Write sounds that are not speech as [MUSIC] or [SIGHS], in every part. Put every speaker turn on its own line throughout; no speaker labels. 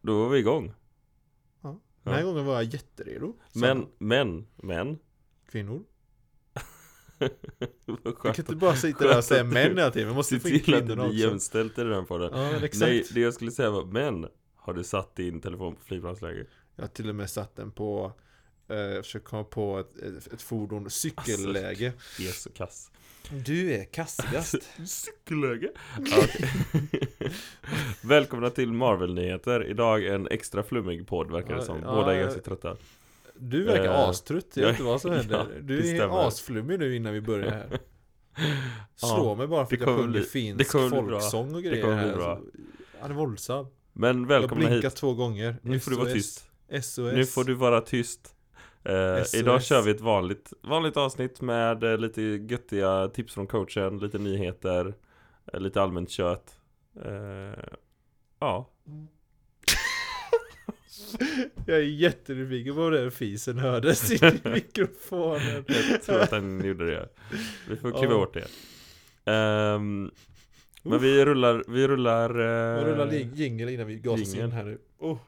Då var vi igång.
Den här gången var jag jätteredo. Så,
Men, men, men.
Kvinnor.
Vad
Vi
skönt
kan inte
att
bara sitta där och säga
[LAUGHS] skönt att
män
du-
hela tiden. Vi måste
se
få in
till att det
kvinnorna
blir
också.
jämställt i den här podden.
Ja, men exakt.
Nej, det jag skulle säga var, men. Har du satt din telefon på flygplansläge?
Jag har till och med satt den på, eh, jag försöker komma på ett, ett, ett fordon, cykelläge.
Det är så kass.
Du är kassigast.
Cykelläge? Ja, okej. [LAUGHS] Välkomna till Marvel-nyheter. Idag en extra flummig podd verkar det som.
Ja,
Båda är
ja,
ganska trötta.
[LAUGHS] Du verkar
Eh,
astrött, jag vet inte vad
[LAUGHS]
som
ja,
händer.
det
du
stämmer.
är asflummig nu innan vi börjar här. Slå
[LAUGHS] Ja,
mig bara för
det
att
kommer
jag sjunger
bli-
finsk
det kommer bli bra.
folksång och
Det
grejer
kommer bli
här.
bra.
Alltså, han är våldsam.
Men
jag
välkomna
blinkar
hit.
två gånger.
Nu får du vara
SOS.
tyst.
SOS.
Nu får du vara tyst. Eh,
SOS.
idag kör vi ett vanligt, vanligt avsnitt med eh, lite göttiga tips från coachen, lite nyheter, eh, lite allmänt kött. Eh, ja,
Jag är jättenyfiken på om den fisen hördes i
[LAUGHS]
mikrofonen.
jag tror att
[LAUGHS]
den gjorde det. Vi får kliva
Ja.
bort det. Ehm, men vi rullar, vi rullar... eh,
Jag rullar jing- jingel innan vi gasas
Jingel.
in här nu. Oh.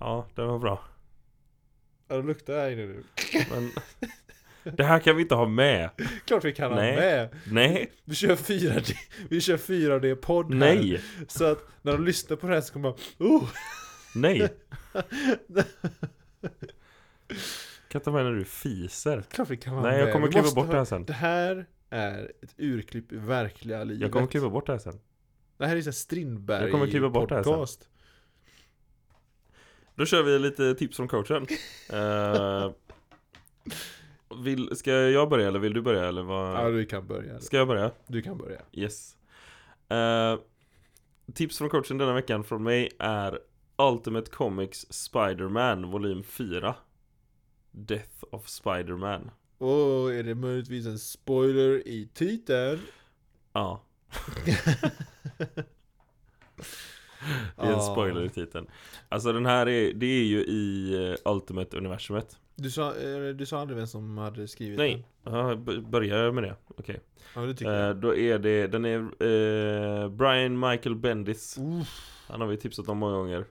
Ja, det var bra.
Ja, det luktar här inne nu.
Men [LAUGHS] det här kan vi inte ha med.
Klart vi kan ha
Nej.
med!
Nej,
Vi kör 4D, vi kör 4D-podd här.
nej,
Så att när de lyssnar på det här så kommer de oh,
nej. [LAUGHS] Kan ta med när du fiser.
klart vi kan ha
Nej,
med.
jag kommer
Vi
klippa
måste
bort
ha-
det här sen.
Det här är ett urklipp i verkliga livet.
Jag kommer klippa bort det här sen.
Det här är ju såhär Strindberg
Jag kommer klippa bort det här sen.
podcast.
Då kör vi lite tips från
[LAUGHS]
coachen. Eh, vill, ska jag börja eller vill du börja eller
Ja,
vad?
du kan börja.
Ska jag börja?
Du kan börja.
Yes. Eh, tips från coachen denna veckan från mig är Ultimate Comics Spider-Man volym 4. Death of Spider-Man.
Och är det möjligtvis en spoiler i titeln?
Ja, det är en spoiler i titeln. Alltså den här är, det är ju i eh, Ultimate-universumet.
Du sa, eh, du sa aldrig vem som hade skrivit
Nej, ja, b- börja med det. Okej.
den? Ja, det tycker
Eh,
jag.
då är det, den är eh, Brian Michael Bendis.
Uff,
Han har vi tipsat om många gånger.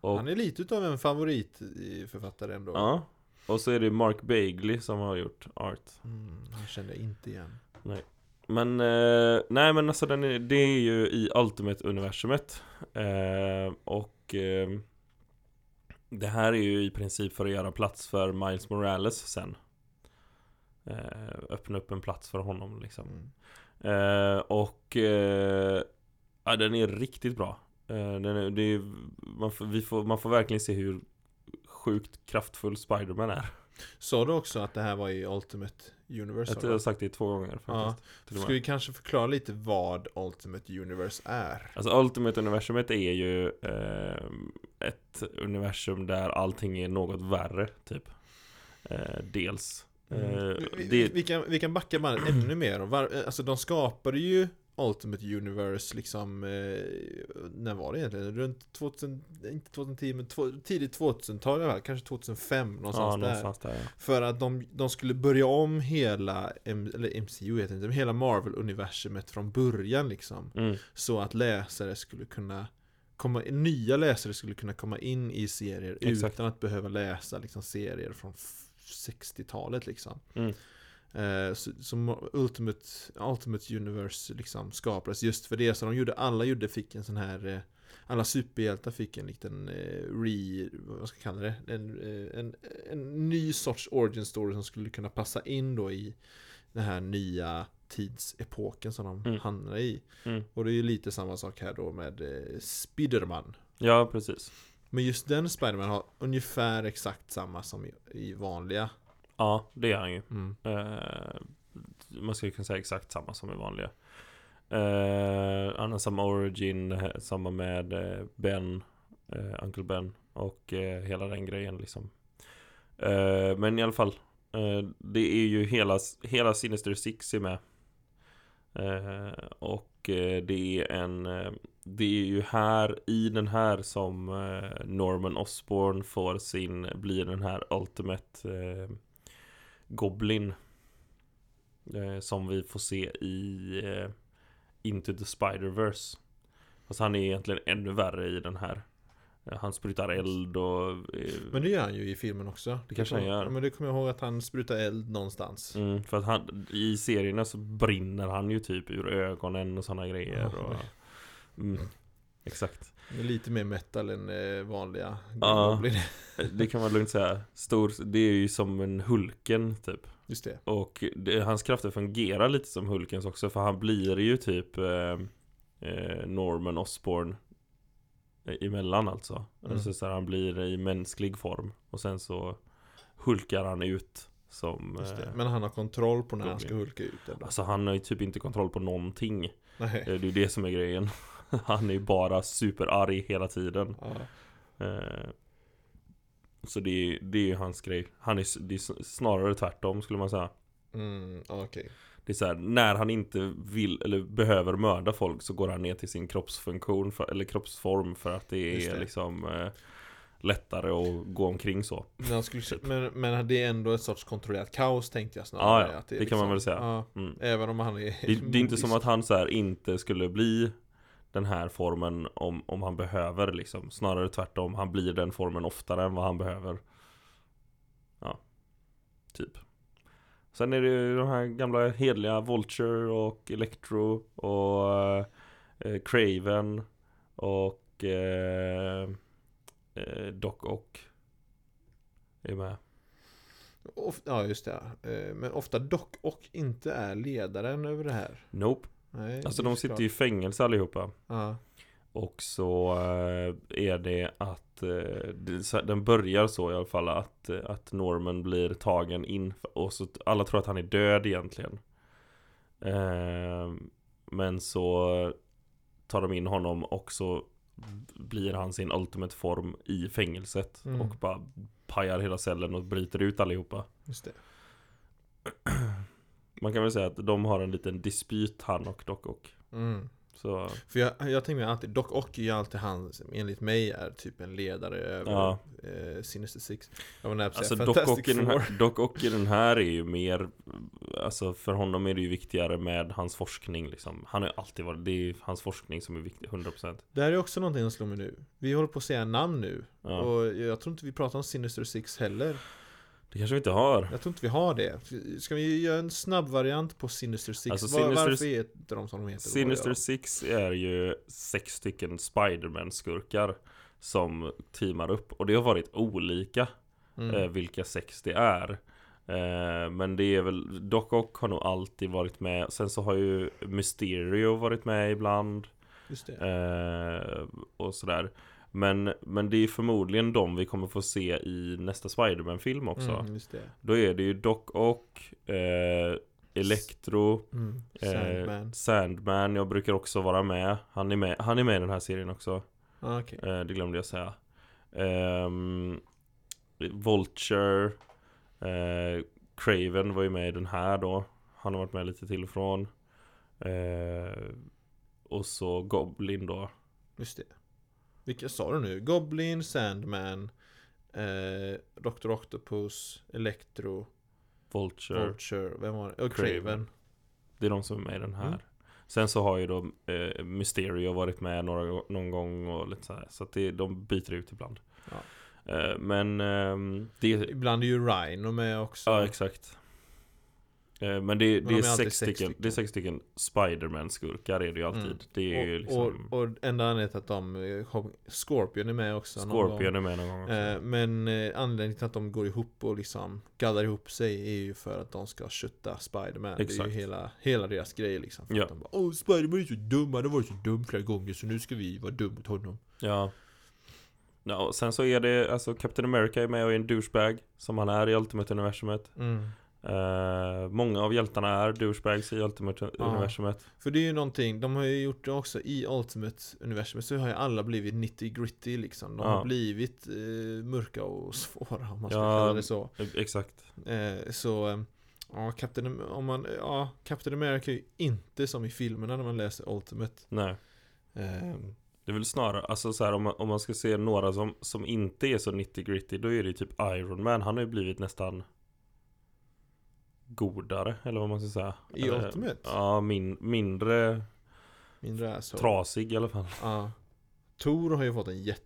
Och,
han är lite utav en favoritförfattare ändå.
ja, och så är det Mark Bagley som har gjort art.
Mm, han kände jag inte igen.
Men, eh, nej men alltså den är, det är ju i Ultimate-universumet. Eh, och eh, det här är ju i princip för att göra plats för Miles Morales sen. Eh, öppna upp en plats för honom liksom.
Mm.
Eh, och eh, ja, den är riktigt bra. Eh, den är, det är, man, får, vi får, man får verkligen se hur sjukt kraftfull Spiderman är.
Sa du också att det här var i Ultimate Universe?
Jag
sa
tror
du?
jag har sagt det två gånger
Ja.
faktiskt. till och med.
Ska vi kanske förklara lite vad Ultimate Universe är?
Alltså Ultimate Universumet är ju eh, ett universum där allting är något värre, typ. Eh, dels. Eh,
Mm. Vi- vi,
det,
vi, kan, vi kan
[CLEARS THROAT]
backa bandet ännu mer. Och Var, alltså de skapade ju Ultimate Universe liksom, eh, när var det egentligen? Runt 2000, inte 2010 men två, tidigt 2000-tal i alla fall, kanske 2005 någonstans
ja,
där.
någonstans där. ja.
För att de, de skulle börja om hela, M- eller MCU heter det inte, men hela Marvel-universumet från början liksom.
Mm.
Så att läsare skulle kunna komma, nya läsare skulle kunna komma in i serier
Exakt.
utan att behöva läsa liksom, serier från f- 60-talet liksom.
Mm.
Eh, så- Som Ultimate, Ultimate Universe liksom skapades just för det. Så de gjorde, alla gjorde fick en sån här eh, alla superhjältar fick en liten eh, re, vad ska jag kalla det? En, eh, en, en ny sorts origin story som skulle kunna passa in då i den här nya tidsepoken som de
Mm.
hamnar i.
Mm.
Och det är ju lite samma sak här då med eh, Spiderman.
Ja, precis.
Men just den Spiderman har ungefär exakt samma som i, i vanliga.
Ja, det är han ju.
Mm.
Eh, man skulle kunna säga exakt samma som i vanliga. Eh, han har samma origin, eh, samma med eh, Ben, eh, Uncle Ben. Och eh, hela den grejen liksom. Eh, men i alla fall. Eh, det är ju hela, hela Sinister Six är med. Eh, och eh, det är en... Eh, det är ju här, i den här som eh, Norman Osborn får sin, blir den här Ultimate eh, Goblin. Eh, som vi får se i eh, Into the Spider-Verse. Fast han är egentligen ännu värre i den här. Eh, Han sprutar eld och... eh,
Men det gör han ju i filmen också.
Det kanske han gör.
Ja, Men det kommer jag ihåg att han sprutar eld någonstans.
Mm, för att han, i serierna så brinner han ju typ ur ögonen och sådana grejer. Och, mm, exakt.
Det är Lite mer metal än eh, vanliga
Ja.
Goblin. [LAUGHS]
Det kan man lugnt säga. Stor, det är ju som en Hulken typ.
Just det.
Och det, hans krafter fungerar lite som Hulkens också för han blir ju typ eh, eh, Norman Osborn eh, emellan alltså.
Mm.
Alltså så här, han blir i mänsklig form och sen så hulkar han ut som...
Just det.
eh,
Men han har kontroll på när han ska
Goblin.
hulka ut ändå.
Alltså han har ju typ inte kontroll på någonting.
Nej.
Eh, Det är ju det som är grejen. [LAUGHS] Han är ju bara superarg hela tiden.
Ja.
Eh, Så det är, det är ju hans grej. Han är, s- det är s- snarare tvärtom skulle man säga.
Mm, ja, okej.
Det är så här, när han inte vill eller behöver mörda folk så går han ner till sin kroppsfunktion för, eller kroppsform för att det
Just
är
det.
liksom eh, lättare att gå omkring så.
Men, han skulle, men, men det är ändå ett sorts kontrollerat kaos tänkte jag
Ja,
snarare.
ja.
Att liksom-
Det kan man väl säga.
Ja,
Mm.
även om han är...
Det, det är inte som att han så här inte skulle bli den här formen om, om han behöver liksom. Snarare tvärtom, han blir den formen oftare än vad han behöver. Ja, typ. Sen är det ju de här gamla hedliga Vulture och Electro och eh, Craven och eh, eh, Doc Ock. Är med.
Of, ja, just det. ja. Eh, Men ofta dock och inte är ledaren över det här.
Nope.
Nej,
Alltså
det är
de
såklart.
sitter ju i fängelse allihopa.
Ja.
Och så eh, är det att eh, det- så- Den börjar så i alla fall att, eh, att Norman blir tagen in Och så alla tror att han är död egentligen Eh, Men så Tar de in honom och så Blir han sin ultimate form i fängelset
Mm.
Och bara pajar hela cellen och bryter ut allihopa
Just det.
Man kan väl säga att de har en liten dispyt han och Doc och
Mm.
Så
För jag, jag tänker mig alltid, Doc Ock är ju alltid han som enligt mig är typ en ledare över
Ja.
eh, Sinister Six. Jag var nära på att
Alltså
säga
Doc Ock,
Fantastic
i den
Four.
här, Doc Ock i den här är ju mer Alltså för honom är det ju viktigare med hans forskning liksom Han har ju alltid varit, det är ju hans forskning som är viktig, 100%
Det här är också någonting som slår mig nu. Vi håller på att säga namn nu.
ja.
Och jag tror inte vi pratar om Sinister Six heller.
Det kanske vi inte har
Jag tror inte vi har det. Ska vi göra en snabb variant på Sinister Six?
Alltså,
Var,
Sinister-
Varför heter de som de heter?
Sinister Six är ju sex stycken Spiderman-skurkar Som teamar upp och det har varit olika
Mm.
eh, vilka sex det är. Eh, men det är väl, Doc Ock har nog alltid varit med. Sen så har ju Mysterio varit med ibland.
Just det.
Eh, och sådär. Men, men det är förmodligen de vi kommer få se i nästa Spiderman-film också.
Mm, just det.
Då är det ju Doc Ock, eh, Electro,
Mm.
Sandman.
Sandman.
Eh, Sandman. Jag brukar också vara med. Han är med, han är med i den här serien också.
Ah, okej.
Eh, det glömde jag säga. Ehm, Vulture, eh, Craven var ju med i den här då. Han har varit med lite till och från. Eh, och så Goblin då.
Just det. Vilka sa du nu? Goblin, Sandman, eh, Dr. Octopus, Electro,
Vulture.
Vulture, vem var det? Oh, Och
Craven.
Craven.
Det är de som är med i den här.
Mm.
Sen så har ju då eh, Mysterio varit med några, någon gång och lite sådär. Så att det, de byter ut ibland.
Ja.
Eh, men ehm, det,
Ibland är ju Rhino med också.
Ja, exakt. Eh, Men det, det,
de
är
är alltid
sex
sex
stycken,
stycken.
det är sex stycken Spiderman-skurkar är det ju alltid.
Mm.
Det är ju
och, och,
liksom
och enda anledningen till att de eh, kom- Scorpion är med också någon gång.
Scorpion är med någon gång också.
Eh, Men eh, anledningen till att de går ihop och liksom gaddar ihop sig är ju för att de ska kötta Spiderman. Det är
Exakt.
ju hela, hela deras grej liksom. För
Ja.
att de bara, Åh, Spiderman är så dum, han har varit så dum flera gånger så nu ska vi vara dum mot honom.
Ja. Ja, och sen så är det, alltså Captain America är med och är en douchebag Som han är i Ultimate Universumet Eh, många av hjältarna är douchebags i
Ja.
Ultimate-universumet.
För det är ju någonting, de har ju gjort det också i Ultimate-universumet så har ju alla blivit nitty gritty liksom. De
Ja.
har blivit eh, mörka och [LAUGHS] svåra om man ska
Ja.
kalla det så.
Eh, Exakt.
Eh, så, eh, ja, Captain, Am- om man, ja, Captain America är ju inte som i filmerna när man läser Ultimate.
Nej.
Eh,
Det är väl snarare, alltså så här, om, man, om man ska se några som, som inte är så nitty gritty Då är det ju typ Iron Man, han har ju blivit nästan Godare, eller vad man ska säga
I
eller,
Ultimate?
Ja, min, mindre
mindre asshole.
trasig i alla fall
Ja. Tor har ju fått en jätte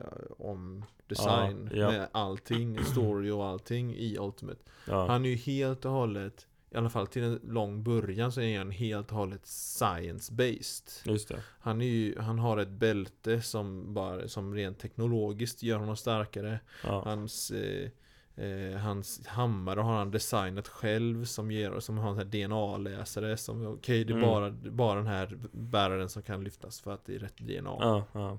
eh, om design
Ja, ja.
med allting, story och allting i Ultimate.
ja.
Han är ju helt och hållet, i alla fall till en lång början så är han helt och hållet science-based.
Just det,
Han, är ju, han har ett bälte som, bara, som rent teknologiskt gör honom starkare.
ja,
Hans, eh, eh, hans hammare har han designat själv som, ger, som har en sån här DNA-läsare som okej det är
Mm.
bara, bara den här bäraren som kan lyftas för att det är rätt DNA
ja, ja.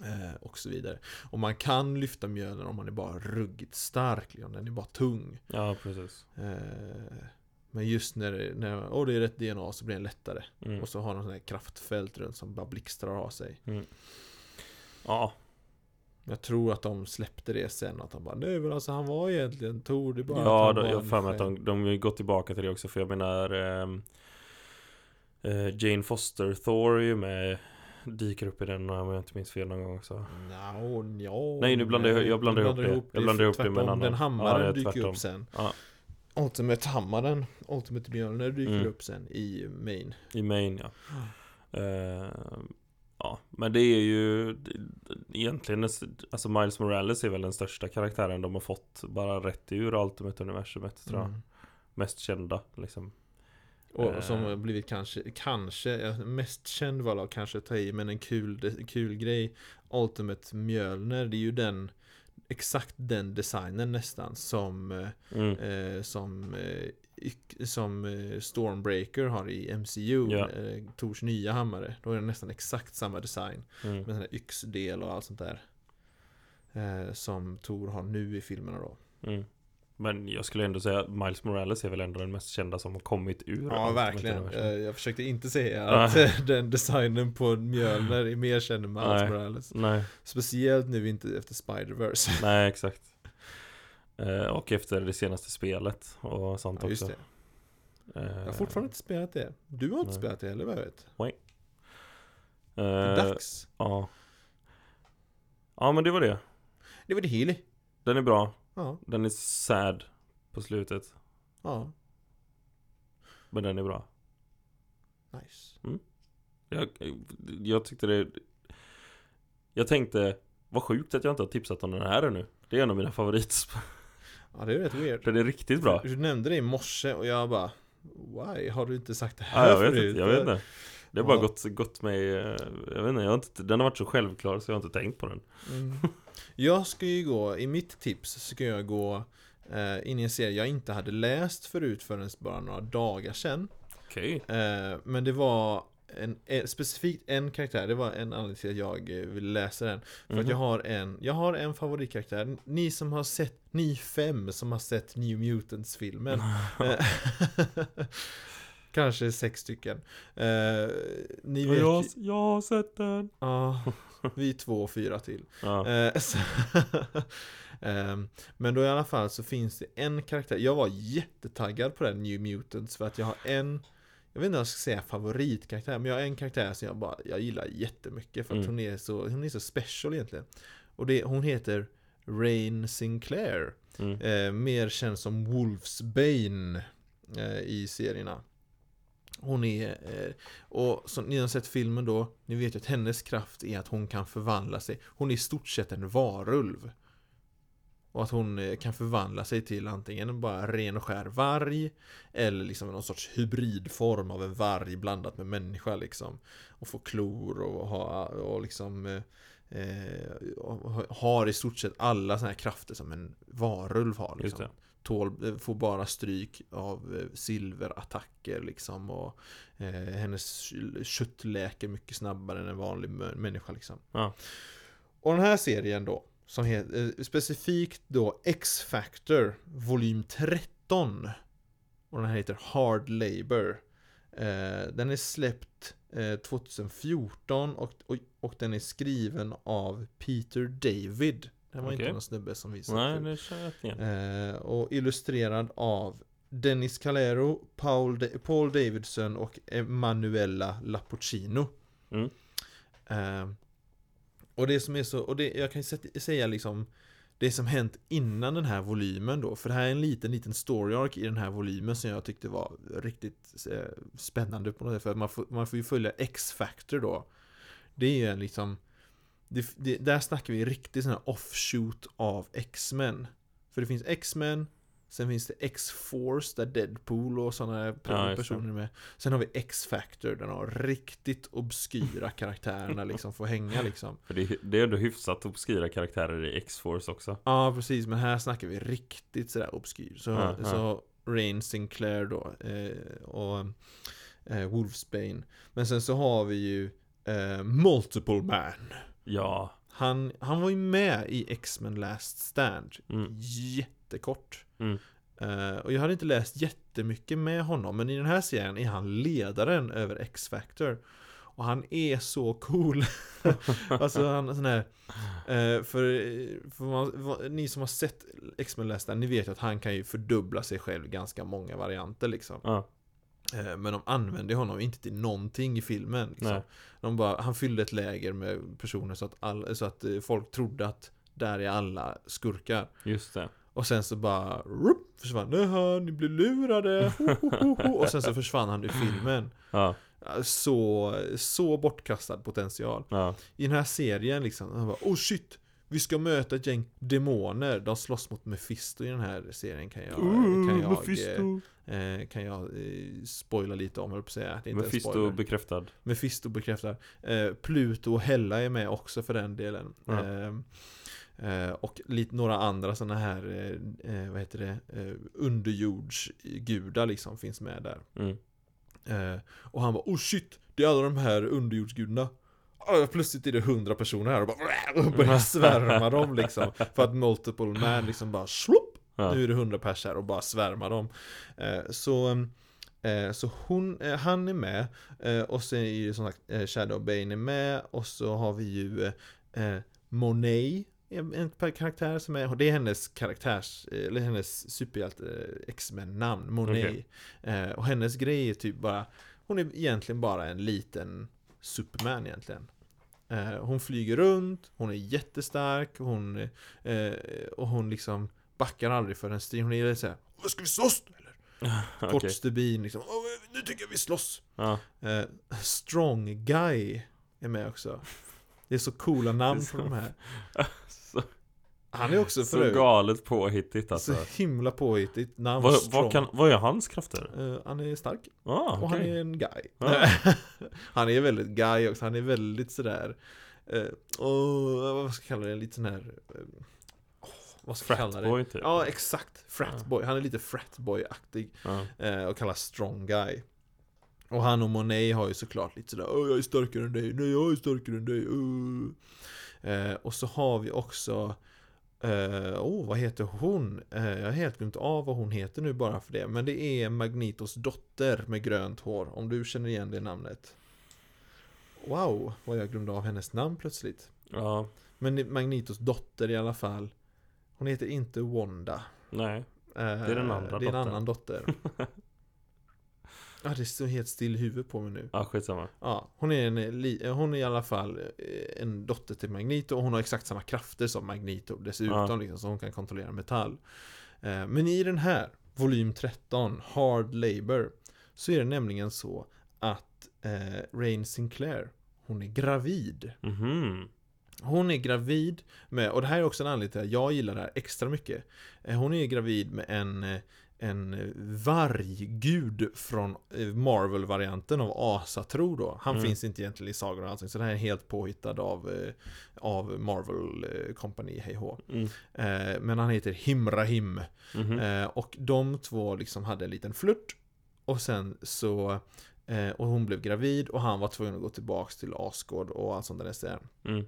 eh, och så vidare. Och man kan lyfta mjölen om man är bara ruggigt stark, liksom. den är bara tung.
ja precis
Eh, men just när, det- när åh, det är rätt DNA så blir den lättare.
mm.
Och så har den sån här kraftfält runt som bara blixtrar av sig.
Ja,
Jag tror att de släppte det sen, att de bara nej men alltså han var egentligen Tor, det är bara
ja
att
då,
han
jag
var
har för mig
en
att de, de har ju gått tillbaka till det också För jag menar ehm, eh, Jane Foster Thor är ju med Dyker upp i den om jag inte minns fel någon gång också
No, no,
Nej, nu blandar jag- jag blandar ihop det. Jag blandar ihop det med en
tvärtom.
annan.
Den hammaren
Ja, det är
dyker
tvärtom.
upp sen.
Ja.
Ultimate-hammaren, Ultimate-björnen dyker
Mm.
upp sen i main.
I Maine ja. Eh, ja, men det är ju det- egentligen, näst- alltså Miles Morales är väl den största karaktären de har fått bara rätt ur Ultimate-universumet tror jag.
Mm.
Mest kända liksom. Eh.
Och som har blivit kanske, kanske, ja, mest känd var jag kanske att ta i, men en kul, de- kul grej. Ultimate Mjölner, det är ju den, exakt den designen nästan som, eh,
Mm.
eh, som, eh, yck- som eh, Stormbreaker har i MCU,
Ja.
eh, Tors nya hammare. Då är det nästan exakt samma design,
Mm.
med sån här yxdel och allt sånt där. Eh, som Tor har nu i filmerna då.
Mm. Men jag skulle ändå säga att Miles Morales är väl ändå den mest kända som har kommit ur
Ja,
Ultimate
verkligen.
Universum.
Eh, Jag försökte inte säga
Nej.
att eh, den designen på Mjölner är mer känd än Miles
Nej.
Morales.
Nej,
Speciellt nu inte efter Spider-Verse.
nej exakt. Eh, och efter det senaste spelet och sånt
Ja, just
också.
det.
Eh,
Jag har fortfarande inte spelat det. Du har inte
Nej.
spelat det heller vad jag vet. Det
eh,
är dags.
Ja. Ja men det var det.
Det var det Healy.
Den är bra.
Ja,
Den är sad på slutet.
ja.
Men den är bra.
Nice.
Jag, jag tyckte det... Jag tänkte, vad sjukt att jag inte har tipsat om den här ännu. Det är en av mina favorit.
Ja, det är rätt weird.
Den är riktigt bra.
Du nämnde det i morse och jag bara Why? Har du inte sagt det
Ja,
här
jag vet
förut?
inte, jag vet inte. Det har bara
Ja.
gått, gått mig... eh, Jag vet inte, jag har inte, den har varit så självklar så jag har inte tänkt på den.
Mm. Jag ska ju gå, i mitt tips ska jag gå eh, in i en serie jag inte hade läst förut förrän bara några dagar sedan.
Okej.
Eh, men det var en, eh, specifikt en karaktär, det var en anledning till att jag eh, ville läsa den. För
Mhm.
att jag har en, jag har en favoritkaraktär. Ni som har sett, ni fem som har sett
[LAUGHS]
New Mutants-filmen. eh, [LAUGHS] Kanske sex stycken. Eh, ni
Och
vet
Jag,
ju-
jag har sett den.
Ja,
[LAUGHS]
vi två och fyra till.
Ja.
Eh, [LAUGHS] så- Ehm, Men då i alla fall så finns det en karaktär, jag var jättetaggad på den New Mutants för att jag har en Jag vet inte om jag ska säga favoritkaraktär men jag har en karaktär som jag bara, jag gillar jättemycket för att
Mm.
hon är så, hon är så special egentligen Och det, hon heter Rain Sinclair
Mm.
eh, Mer känd som Wolfsbane eh, i serierna hon är, eh, och som ni har sett filmen då, ni vet ju att hennes kraft är att hon kan förvandla sig. Hon är i stort sett en varulv. Och att hon eh, kan förvandla sig till antingen bara ren och skär varg eller liksom någon sorts hybridform av en varg blandat med människa liksom. Och få klor och ha och liksom eh, eh, och ha- har i stort sett alla sådana här krafter som en varulv har.
Just
Liksom
det.
tål, eh, får bara stryk av eh, silverattacker liksom och eh, hennes k- kött läker mycket snabbare än en vanlig mö- människa liksom.
Ja.
Och den här serien då, som heter eh, specifikt då X-Factor volym 13 2013. Och den här heter Hard Labor. Eh, den är släppt eh, 2014 och, och, och den är skriven av Peter David. Det var inte
Okej.
någon snubbe som visade
Nej,
förut.
det känner jag inte igen.
Eh, och illustrerad av Dennis Calero, Paul, Da- Paul Davidson och Emanuela Lapuccino.
Mm.
Eh, och det som är så, och det, jag kan ju sätt- säga liksom det som hänt innan den här volymen då, för det här är en liten, liten story arc i den här volymen som jag tyckte var riktigt eh, spännande på något sätt, för att man får, man får ju följa X-Factor då. Det är ju en liksom, det, det, där snackar vi riktigt sån här offshoot av X-Men. För det finns X-Men, sen finns det X-Force där Deadpool och sådana
Ja, just
personer är med. Sen har vi X-Factor där de riktigt obskyra
[LAUGHS]
karaktärerna liksom får hänga liksom.
För det, det är ändå hyfsat obskyra karaktärer i X-Force också.
Ja, precis. Men här snackar vi riktigt sådär obskyr. Så,
Ja, ja.
så Rain Sinclair då eh, och eh, Wolfsbane. Men sen så har vi ju eh, Multiple Man.
Ja.
Han, han var ju med i X-Men Last Stand.
Mm.
Jättekort.
Mm.
Eh, och jag hade inte läst jättemycket med honom, men i den här serien är han ledaren över X-Factor. Och han är så cool. [LAUGHS] alltså han är sån här... eh, för för man, va- ni som har sett X-Men Last Stand, ni vet ju att han kan ju fördubbla sig själv i ganska många varianter liksom.
Ja.
Eh, Men de använde honom inte till någonting i filmen. Liksom.
Nej.
De bara, han fyllde ett läger med personer så att, all, så att eh, folk trodde att där är alla skurkar.
Just det.
Och sen så bara rup, försvann Jaha, ni blir lurade. Ho, ho, ho, ho. Och sen så försvann han ur filmen.
Ja.
Eh, Så, så bortkastad potential.
Ja.
I den här serien liksom, han bara oh shit. Vi ska möta ett gäng demoner. De slåss mot Mephisto i den här serien kan jag... kan jag, eh, Eh, kan jag eh, spoila lite om, höll jag på att säga. Det är inte en
Mephisto
spoiler. [LAUGHS]
bekräftad.
Mephisto bekräftar. Eh, Pluto och Hella är med också för den delen.
Ja.
Eh, eh, och lite några andra sådana här, eh, eh, vad heter det, eh, underjordsgudar liksom finns med där.
Mm.
Eh, och han bara oh shit, det är alla de här underjordsgudarna. Ah, Plötsligt är det hundra personer här och bara [LAUGHS] och börjar svärma dem liksom. För att multiple man liksom bara slopp.
Ja.
Nu är det hundra pers här och bara svärmar dem. Eh, så ehm, Eh, Så hon, eh, han är med eh, och sen är ju som sagt eh, Shadow Bane är med och så har vi ju eh, eh, Monet en en karaktär som är, det är hennes karaktärs, eh, eller hennes superhjälte eh, X-Men namn, Monet.
Okej.
Eh, Och hennes grej är typ bara, hon är egentligen bara en liten Superman egentligen. Eh, Hon flyger runt, hon är jättestark, hon, eh, och hon liksom backar aldrig för en strid. Hon är såhär, vad ska vi slåss? Eller?
Okej.
Kort stubin liksom. "Åh, Nu tycker jag vi slåss.
Ja.
Eh, strong Guy är med också. Det är så coola namn på de här.
Så,
Han är också
så
förut.
galet påhittigt alltså.
Så himla påhittigt namn.
Vad,
Strong.
vad, kan, vad är hans krafter?
Eh, han är stark.
Ah,
Och han
okej.
är en guy.
Ja.
[LAUGHS] han är väldigt guy också. Han är väldigt sådär... Uh, vad ska jag kalla det? Lite sån här... eh, åh, vad ska jag kalla det?
Fratboy typ.
Ja, exakt.
Ja.
Fratboy. Han är lite fratboy-aktig.
Ja.
Eh, och kallas Strong Guy. Och han och Monet har ju såklart lite sådär Åh, jag är starkare än dig, nej jag är starkare än dig, uh. eh, Och så har vi också eh, oh, vad heter hon? Eh, jag har helt glömt av vad hon heter nu bara för det. Men det är Magnitos dotter med grönt hår, om du känner igen det namnet. Wow, vad jag glömde av hennes namn plötsligt.
ja.
Men det är Magnitos dotter i alla fall. Hon heter inte Wanda.
Nej.
Det är
den andra
Eh, Det är en
dottern.
annan dotter.
[LAUGHS]
ja, det står helt still i huvudet på mig nu.
Ja, skitsamma.
Ja, hon är, en, li- hon är i alla fall eh, en dotter till Magneto och hon har exakt samma krafter som Magneto dessutom.
Ja.
Liksom, så hon kan kontrollera metall. Eh, Men i den här, volym 13, Hard Labor, så är det nämligen så att eh, Rain Sinclair, hon är gravid.
Mhm.
Hon är gravid med, och det här är också en anledning till att jag gillar det här extra mycket. Eh, Hon är gravid med en, eh, en varggud från eh, Marvel-varianten av Asatro då. Han
Mm.
finns inte egentligen i sagor och allting, så det här är helt påhittad av, eh, av Marvel eh, Company, hej hå.
Mm.
Eh, Men han heter Himrahim.
Mhm.
Eh, och de två liksom hade en liten flört. Och sen så... Eh, och hon blev gravid och han var tvungen att gå tillbaks till Asgård och allt sånt där. där.
Mm.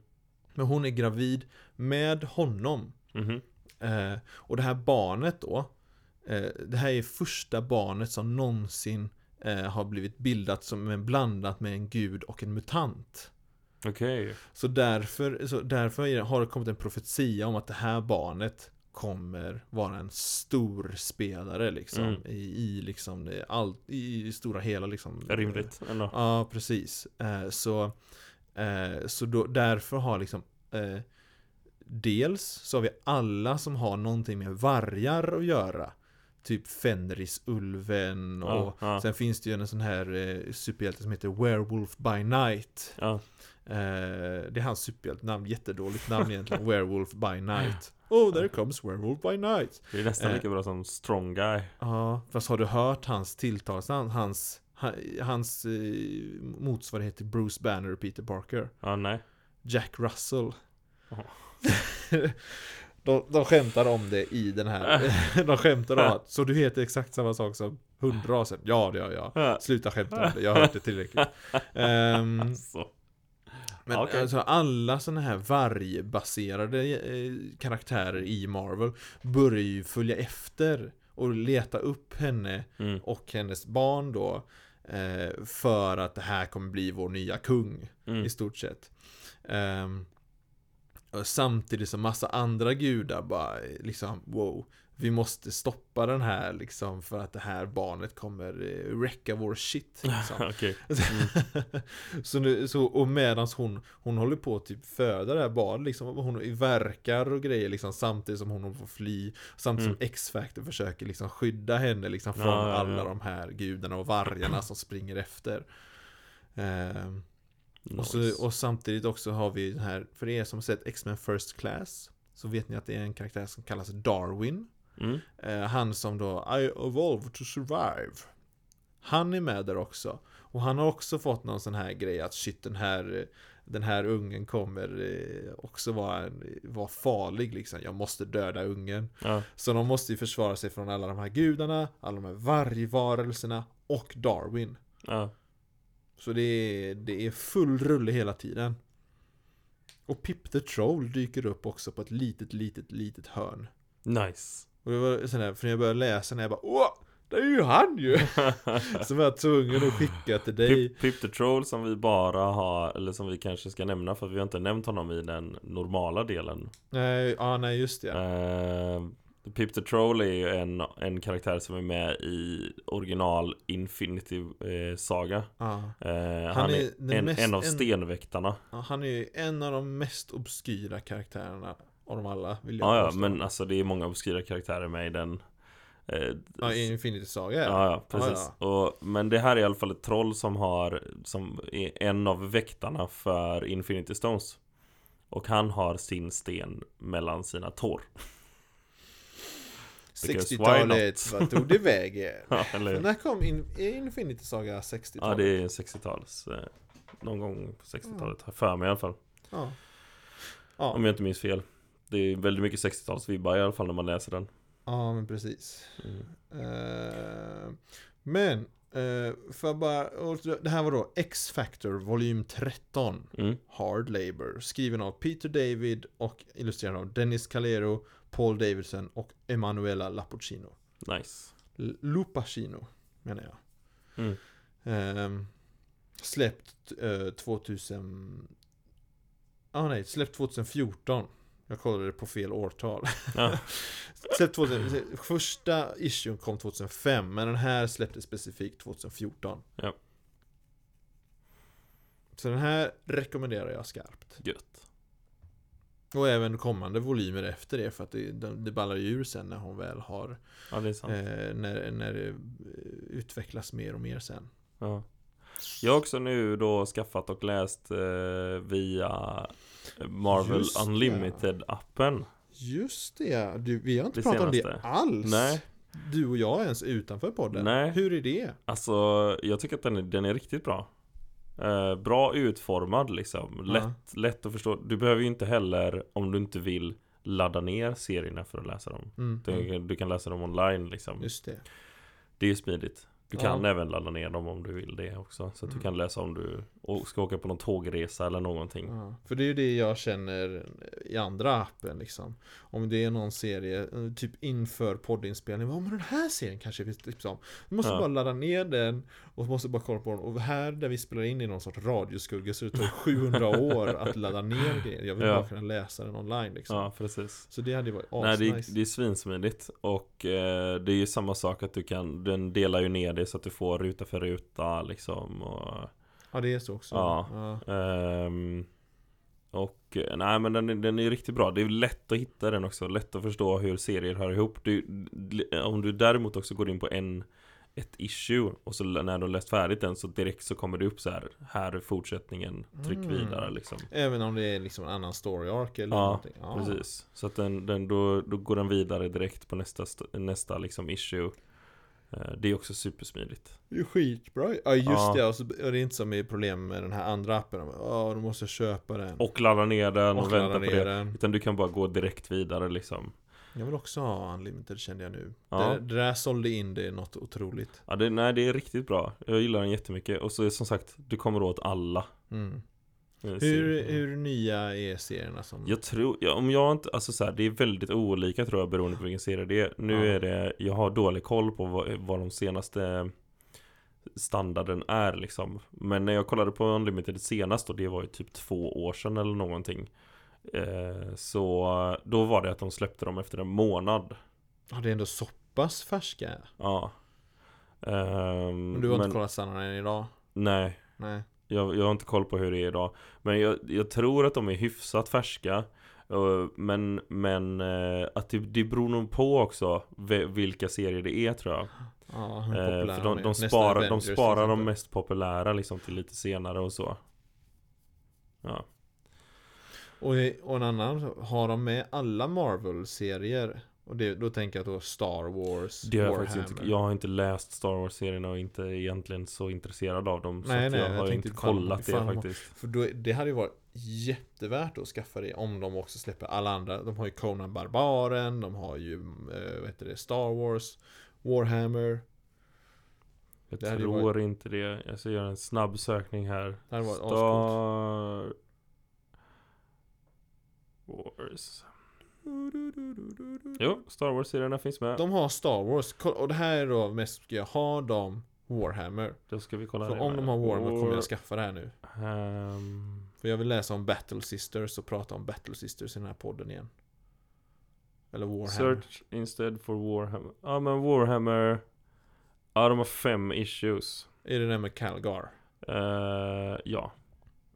Men hon är gravid med honom.
Mhm.
Eh, och det här barnet då Eh, Det här är första barnet som någonsin eh, har blivit bildat som en blandat med en gud och en mutant.
Okej.
Så därför, så därför är- har det kommit en profetia om att det här barnet kommer vara en stor spelare liksom.
Mm.
I, I liksom eh, allt, i stora hela liksom.
Rimligt Eh, ändå.
Ja, precis. Eh, Så, eh, så då, därför har liksom eh, Dels så har vi alla som har någonting med vargar att göra. Typ Fenrisulven och
Ja, ja.
Sen finns det ju en sån här eh, superhjälte som heter Werewolf by Night.
Ja.
Eh, det är hans superhjältenamn, jättedåligt namn egentligen. Werewolf by Night. Oh, there comes Werewolf by Night.
Det är nästan
Eh.
lika bra som Strong Guy.
Ja, fast har du hört hans tilltalsnamn? Hans, ha- hans eh, motsvarighet till Bruce Banner och Peter Parker.
Ja, nej.
Jack Russell.
Jaha.
[LAUGHS] de, de skämtar om det i den här. de skämtar om att, så du heter exakt samma sak som hundrasen? Ja, det gör jag.
Ja.
Sluta skämta om det, jag har hört det tillräckligt. Ehm,
Så. [LAUGHS]
men
Okej.
alltså alla sådana här vargbaserade eh, karaktärer i Marvel börjar ju följa efter och leta upp henne
Mm.
och hennes barn då eh, för att det här kommer bli vår nya kung
Mm.
i stort sett. Ehm, och samtidigt som massa andra gudar bara eh, liksom wow. Vi måste stoppa den här liksom för att det här barnet kommer eh, wrecka vår shit. Liksom.
Okej.
Mm. [LAUGHS] så nu, så, och medans hon, hon håller på att typ föda det här barnet liksom, och hon verkar och grejer liksom samtidigt som hon får fly Samtidigt som X-Factor försöker liksom skydda henne liksom från
Mm. Ja, ja, ja.
alla de här gudarna och vargarna som springer efter Ehm, och,
Nice.
så, och samtidigt också har vi den här, för er som har sett X-Men First Class Så vet ni att det är en karaktär som kallas Darwin
Mm.
Eh, Han som då I evolved to survive Han är med där också Och han har också fått någon sån här grej att shit den här eh, Den här ungen kommer eh, också vara, en- vara farlig liksom Jag måste döda ungen
Ja.
Så de måste ju försvara sig från alla de här gudarna Alla de här vargvarelserna Och Darwin
Ja.
Så det är, det är full rulle hela tiden Och Pip the Troll dyker upp också på ett litet litet litet hörn
Nice.
och det var sån här, för när jag började läsa när jag bara Åh! Det är ju han
[LAUGHS]
ju! [LAUGHS] Som jag var tvungen att skicka till dig
Pip, Pip the Troll som vi bara har, eller som vi kanske ska nämna för att vi har inte nämnt honom i den normala delen.
Nej, ja nej just det
Eh, Pip the Troll är ju en, en karaktär som är med i original Infinity eh, Saga.
ja.
Eh, han, är,
den
en,
mest-
en av
en-
stenväktarna.
Ja, Han är ju en av de mest obskyra karaktärerna Av dem alla vill jag
Ja, ja,
påstå.
men alltså det är många obskyra karaktärer med i den. Eh,
Ja, i Infinity Saga är det.
Ja, ja, precis.
Ja,
Och, men det här är i alla fall ett troll som har Som är en av väktarna för Infinity Stones Och han har sin sten mellan sina tår Because why
60-talet, vad tog det vägen?
[LAUGHS] [LAUGHS] Ja, eller
Men
hur?
när kom in, är Infinity Saga 60-talet?
Ja, det är 60-tals eh, Någon gång på 60-talet, har jag för mig i alla fall
ja.
Om jag inte minns fel Det är väldigt mycket 60-talsvibbar i alla fall när man läser den
Ja, men precis.
Mm.
Eh, men, eh, för att bara, och det här var då X-Factor volym 13,
mm.
Hard Labor, skriven av Peter David och illustrerad av Dennis Calero, Paul Davidson och Emanuela Lapuccino.
Nice
L- Lupacino, menar jag.
Mm.
Eh, släppt eh, 2000... Ah, nej, släppt 2014. Jag kollade på fel årtal.
ja.
[LAUGHS] Släppt 2000, första issuen kom 2005 men den här släpptes specifikt 2014.
Ja.
Så den här rekommenderar jag skarpt.
Gött
Och även kommande volymer efter det för att det, de- det ballar ju ur sen när hon väl har
Ja, det är sant
eh, när, när det eh, utvecklas mer och mer sen.
ja. Jag har också nu då skaffat och läst eh, via Marvel
Just det.
Unlimited-appen
Just det ja. du, vi har inte
Det
pratat om det
senaste.
alls.
Nej.
Du och jag ens utanför podden.
Nej.
Hur är det?
Alltså, jag tycker att den är, den är riktigt bra. Eh, bra utformad liksom. Lätt, lätt att förstå. Du behöver ju inte heller, om du inte vill, ladda ner serierna för att läsa dem.
Mm,
Du,
mm,
du kan läsa dem online liksom.
just det.
Det är ju smidigt. Du kan
Ja.
även ladda ner dem om du vill det också. Så att du
Mm.
kan läsa om du å- ska åka på någon tågresa eller någonting.
Ja, för det är ju det jag känner i andra appen liksom. Om det är någon serie, eh, typ inför poddinspelning, vad men den här serien kanske typ vi tipsar om. Du måste
Ja.
bara ladda ner den och måste bara kolla på den. Och här där vi spelar in i någon sorts radioskugga så det tar
[LAUGHS]
700 år att ladda ner det. Jag vill
Ja.
bara kunna läsa den online liksom.
Ja, precis.
Så det hade ju varit
Nej, det, är-
asnice.
det är svinsmidigt och eh, det är ju samma sak att du kan, den delar ju ner det så att du får ruta för ruta liksom och
Ja, det är så också.
Ja.
Ja.
Ehm, och eh, nej men den, är- den är riktigt bra. Det är lätt att hitta den också. Lätt att förstå hur serier hör ihop. Du, om du däremot också går in på en ett issue och så l- när du har läst färdigt den så direkt så kommer det upp så här Här är fortsättningen, tryck
Mm.
vidare liksom
Även om det är liksom en annan story arc eller
Ja,
någonting. Ja,
Precis, så att den, den, då, då går den vidare direkt på nästa, st- nästa liksom issue Eh, Det är också supersmidigt
Det är ju skitbra Ja just
Ja.
det, och, så, och det är inte som i problem med den här andra appen Ja, då måste jag köpa den
Och ladda ner den och,
Och
vänta
ladda
på det
den
Utan du kan bara gå direkt vidare liksom
Jag vill också ha Unlimited kände jag nu
Ja.
det, det där sålde in det i något otroligt
Ja, det, nej, det är riktigt bra. Jag gillar den jättemycket. Och så är det som sagt, du kommer åt alla.
mm.
eh,
hur,
serier.
hur nya är serierna som
Jag tror, ja, om jag inte, alltså så här, det är väldigt olika tror jag beroende på vilken serie det är. Nu
Ja.
är det, jag har dålig koll på vad, vad de senaste standarden är liksom. Men när jag kollade på Unlimited senast och det var ju typ två år sedan eller någonting. Eh, så då var det att de släppte dem efter en månad.
Ja, det är ändå så pass färska
Ja. Ehm,
Men du har
men-
inte kollat sanna än idag?
Nej.
Nej
Jag, jag har inte koll på hur det är idag Men jag, jag tror att de är hyfsat färska Eh, Men, men eh, att det, det beror nog på också ve- vilka serier det är tror jag
Ja, hur
Eh,
populära
För de,
är.
de,
Nästa
sparar, de
Avengers till
sparar de
exempel.
mest populära liksom till lite senare och så Ja,
och, och en annan, har de med alla Marvel-serier? Och det, då tänker jag då Star Wars,
det har jag,
Warhammer
faktiskt inte, jag har inte läst Star Wars-serierna och inte egentligen så intresserad av dem Så
Nej,
att
nej,
jag
jag
har
tänkte
inte
ifall-
kollat det
ifall de-
faktiskt
För då, det hade ju varit jättevärt att skaffa det om de också släpper alla andra. De har ju Conan Barbaren, de har ju eh, vad heter det, Star Wars, Warhammer.
Jag
Det hade ju
tror inte det. Jag ska göra en snabb sökning här.
Det hade varit
Star Wars. Jo, Star Wars-serierna finns med.
De har Star Wars, Ko- och det här är då mest, ska jag ha dem Warhammer?
Då ska vi kolla
För
det
om
med.
de har Warhammer kommer
War-
jag skaffa det här nu.
Ehm,
För jag vill läsa om Battle Sisters och prata om Battle Sisters i den här podden igen. Eller Warhammer.
Search instead for Warhammer. Ja men Warhammer. Ja de har fem issues.
Är det den med Calgar?
Eh, ja.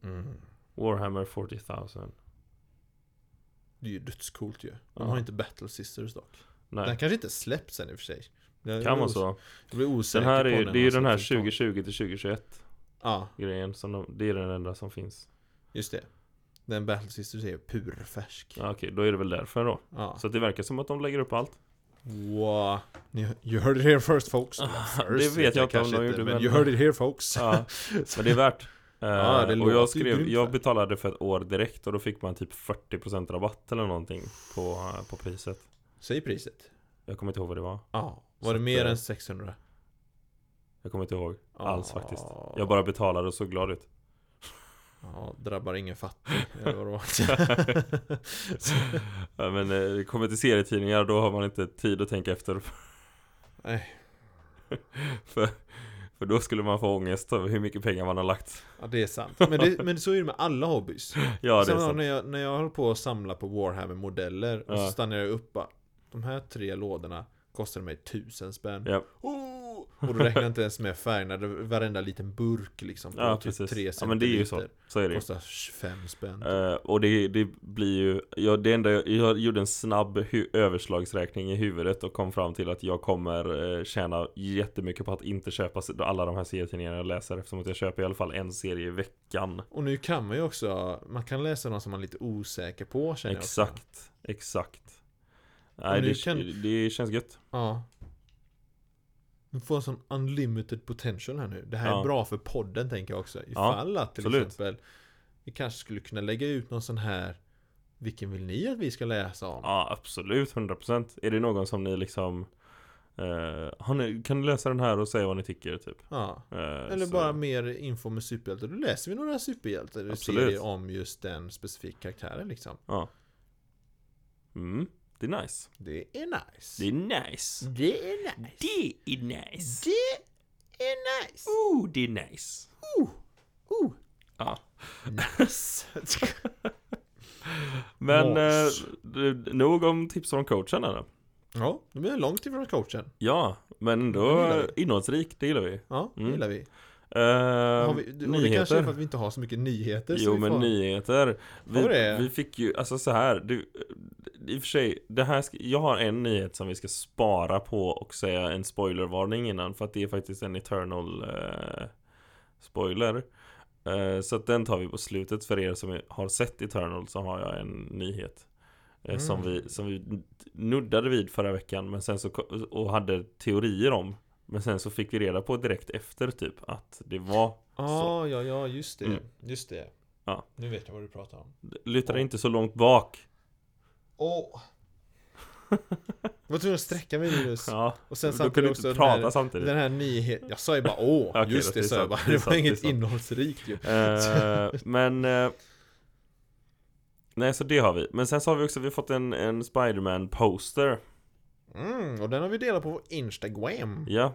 Mm. Warhammer 40,000.
Det är ju dödscoolt ju. De
Ja.
har inte Battle Sisters dock. Den
Nej,
kanske inte släpps än i och för sig. Jag
kan
blir
vara
os-
så.
Jag blir osäker
Den här är
på alltså,
ju,
när
det är ju
de
den här
släpper ut
2020 till 2021.
dem. Ja,
grejen som de, Det är den enda som finns
just det. Den Battle Sisters är purfärsk. Ja.
ja, Okej, då är det väl därför då Så att det verkar som att de lägger upp
[LAUGHS]
allt
Wow. Ni, you heard it here first folks. Eller
det
first
vet jag inte om
kanske
de gjorde,
Men
men-
you heard it here folks.
ja, Men det är värt Eh,
[LAUGHS] Ja, det
och
låter ju
jag, skrev,
grymt
jag
där.
betalade för ett år direkt och då fick man typ 40% rabatt eller någonting på, eh, på priset
Säg priset.
Jag kommer inte ihåg vad det var
Ja.
Så
Var det
att,
mer
eh,
än 600?
Jag kommer inte ihåg alls faktiskt
Ja.
Jag bara betalade och såg glad
[LAUGHS]
ut [LAUGHS]
Ja, drabbar ingen fattig. eller vad det var.
Ja, Men eh, det kommer till serietidningar då har man inte tid att tänka efter [LAUGHS]
Nej.
för, för då skulle man få ångest över hur mycket pengar man har lagt
Ja, det är sant. Men, det, men så är det med alla hobbys.
Ja det är
Samma
sant
när jag, när jag höll på att samla på Warhammer-modeller och
Ja.
så stannade jag upp bara, De här tre lådorna kostade mig tusen spänn.
Japp.
Oh! Och då räknade jag inte ens med färgerna. Det var Varenda liten burk liksom. på
Ja
typ
precis,
tre
ja men det är ju så,
centiliter.
så är det ju.
Kostar 25 spänn.
Eh, och det, det blir ju, jag, det enda, jag, jag gjorde en snabb hu- överslagsräkning i huvudet och kom fram till att jag kommer eh, tjäna jättemycket på att inte köpa s- alla de här serietidningarna jag läser eftersom att jag köper i alla fall en serie i veckan.
Och nu kan man ju också, man kan läsa någon som man är lite osäker på känner jag också.
Exakt, exakt. Nej,
nu
det,
kan-
det känns gött.
Ja. Du får en sån unlimited potential här nu. Det här
Ja.
är bra för podden tänker jag också. Ifall att till
absolut.
exempel vi kanske skulle kunna lägga ut någon sån här Vilken vill ni att vi ska läsa om?
Ja, absolut, 100%. Är det någon som ni liksom Eh, har ni, kan du läsa den här och säga vad ni tycker typ?
Ja.
Eh,
Eller
så-
bara mer info med superhjältar. Då läser vi några superhjältar och
Absolut.
serier om just den specifika karaktären liksom.
Ja. Mm, det är nice.
Det är nice.
Det är nice.
Det är nice.
Det är nice.
Det är nice.
Oh, det är nice.
Oh,
Ja.
nice.
[LAUGHS] Men eh,
Nice.
du- nog om tips från coachen eller?
ja, det blir långt ifrån coachen.
Ja, men
Det
ändå
gillar
innehållsrik, det gillar vi.
Ja, det
Mm.
gillar vi.
Eh,
Har vi det, och det kanske är för
nyheter.
att vi inte har så mycket nyheter. så
Jo
vi
men
får-
nyheter. Vi,
Har det?
vi fick ju, alltså så här. Du, I och för sig, det här ska, jag har en nyhet som vi ska spara på och säga en spoilervarning innan. För att det är faktiskt en eternal eh, spoiler. Eh, så att den tar vi på slutet för er som är- har sett eternal så har jag en nyhet. eh, Som,
Mm.
vi, som vi nuddade vid förra veckan men sen så, ko- och hade teorier om. Men sen så fick vi reda på direkt efter typ att det var
Ah, ja, ja, just det.
Mm.
Just det.
Ja.
Nu vet jag vad du pratar om.
Luta dig inte så långt bak.
Åh! Jag var tvungen att sträcka mig Linus.
Ja,
Och sen
då kan
samtidigt
du
också
inte
den
prata
här,
samtidigt.
den här nyheten. Jag sa ju bara
[LAUGHS]
åh,
Okej,
just
det
det
är
sa jag
sant,
bara.
det är
Det var
sant, det är
inget
sant.
innehållsrikt ju.
Eh, men... eh, nej, så det har vi. Men sen så har vi också vi har fått en, en Spiderman-poster.
Mm, och den har vi delat på vår Instagram.
Ja.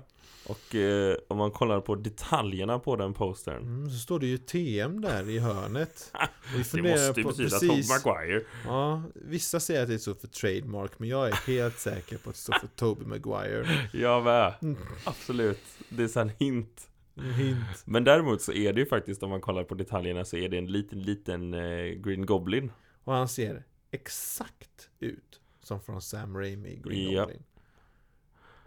Och eh, om man kollar på detaljerna på den postern.
Mm, så står det ju TM där
[LAUGHS]
i hörnet. Och vi
Det
funderar
måste ju
på-
betyda
precis-
Tom Maguire.
Ja, vissa säger att det står för trademark, men jag är helt säker på att det står för Toby
[LAUGHS]
Maguire.
Jag med.
Mm.
Absolut. Det är så en hint.
En hint.
Men däremot så är det ju faktiskt om man kollar på detaljerna så är det en liten, liten eh, Green Goblin.
Och han ser exakt ut som från Sam Raimi i Green
Ja.
Goblin.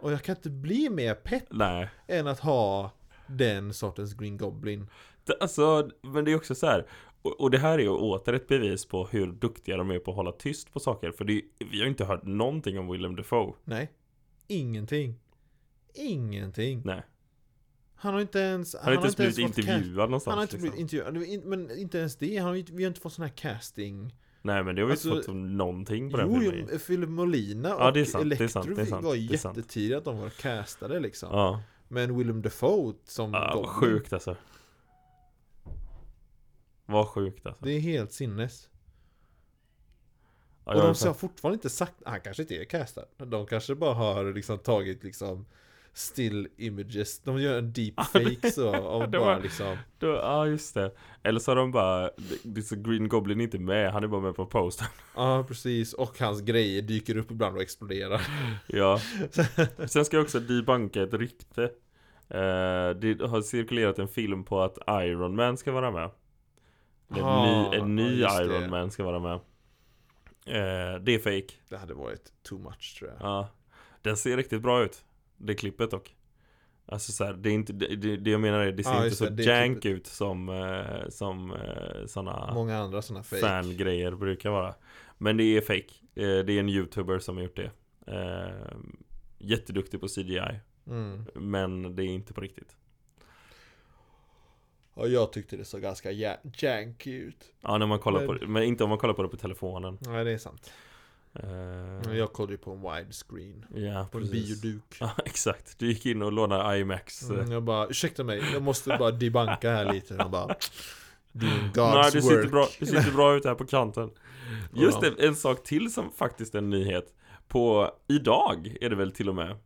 Och jag kan inte bli mer pepp
Nej.
än att ha den sortens Green Goblin.
Det- Alltså, men det är också så här. Och, och det här är ju åter ett bevis på hur duktiga de är på att hålla tyst på saker. För det, är- vi har ju inte hört någonting om Willem Dafoe.
Nej, ingenting. Ingenting.
Nej.
Han har inte ens...
Han har inte ens blivit
fått cast-
intervjuad någonstans.
Han har inte
liksom.
blivit intervjuad, Det var in- men inte ens det. Han har, ju inte- vi har inte fått sån här casting.
Nej men det har vi inte
Alltså,
fått som någonting på den
Jo,
filmen.
jo, Philip Molina och
Ja, det är sant, det är
Electro
sant, det är sant,
var
det är sant.
jättetidigt att de var castade liksom.
Ja,
Men Willem Dafoe som
ja vad
Goblin,
sjukt alltså. Vad sjukt alltså.
Det är helt sinnes.
Ja,
och
jag
de
vet
har
inte.
fortfarande inte sagt, han kanske inte är castad. De kanske bara har liksom tagit liksom still images. De gör en deepfake
[LAUGHS]
så av
det
bara
var-
liksom.
Då- Ja just det. Eller så har de bara, det- det är så Green Goblin är inte med, han är bara med på posten. [LAUGHS]
Ja precis, och hans grejer dyker upp ibland och exploderar. [LAUGHS]
Ja. Sen ska jag också debunka ett rykte. Eh, det har cirkulerat en film på att Iron Man ska vara med. En
Ah,
ny, en ny
ja, just
Iron
det.
Man ska vara med. Eh, det är fake.
Det hade varit too much tror jag.
Ja. Den ser riktigt bra ut. Det klippet dock. Alltså så här, det är inte, det, det det jag menar är, det ser
Ja,
inte
Ah, just
så
det, det
jank ut som, eh, som eh, såna
Många andra sådana fake.
fangrejer brukar vara. Men det är fake. Eh, det är en youtuber som har gjort det. Eh, jätteduktig på CGI.
Mm.
Men det är inte på riktigt.
Ja, jag tyckte det såg ganska ja- janky ut.
Ja, när man kollar
Men-
på det, men inte om man kollar på det på telefonen.
Nej, det är sant.
Eh,
Men Jag kollade ju på en widescreen.
ja,
På en
precis.
bioduk.
[LAUGHS] Ja, exakt. Du gick in och lånade IMAX. eh,
Mm, jag bara, ursäkta mig, jag måste bara debanka här lite. Han bara, doing God's
Nej, det
work.
sitter, bra, det sitter bra ut här på
[LAUGHS]
kanten. Just
Ja.
det, en sak till som faktiskt är en nyhet. På idag är det väl till och med,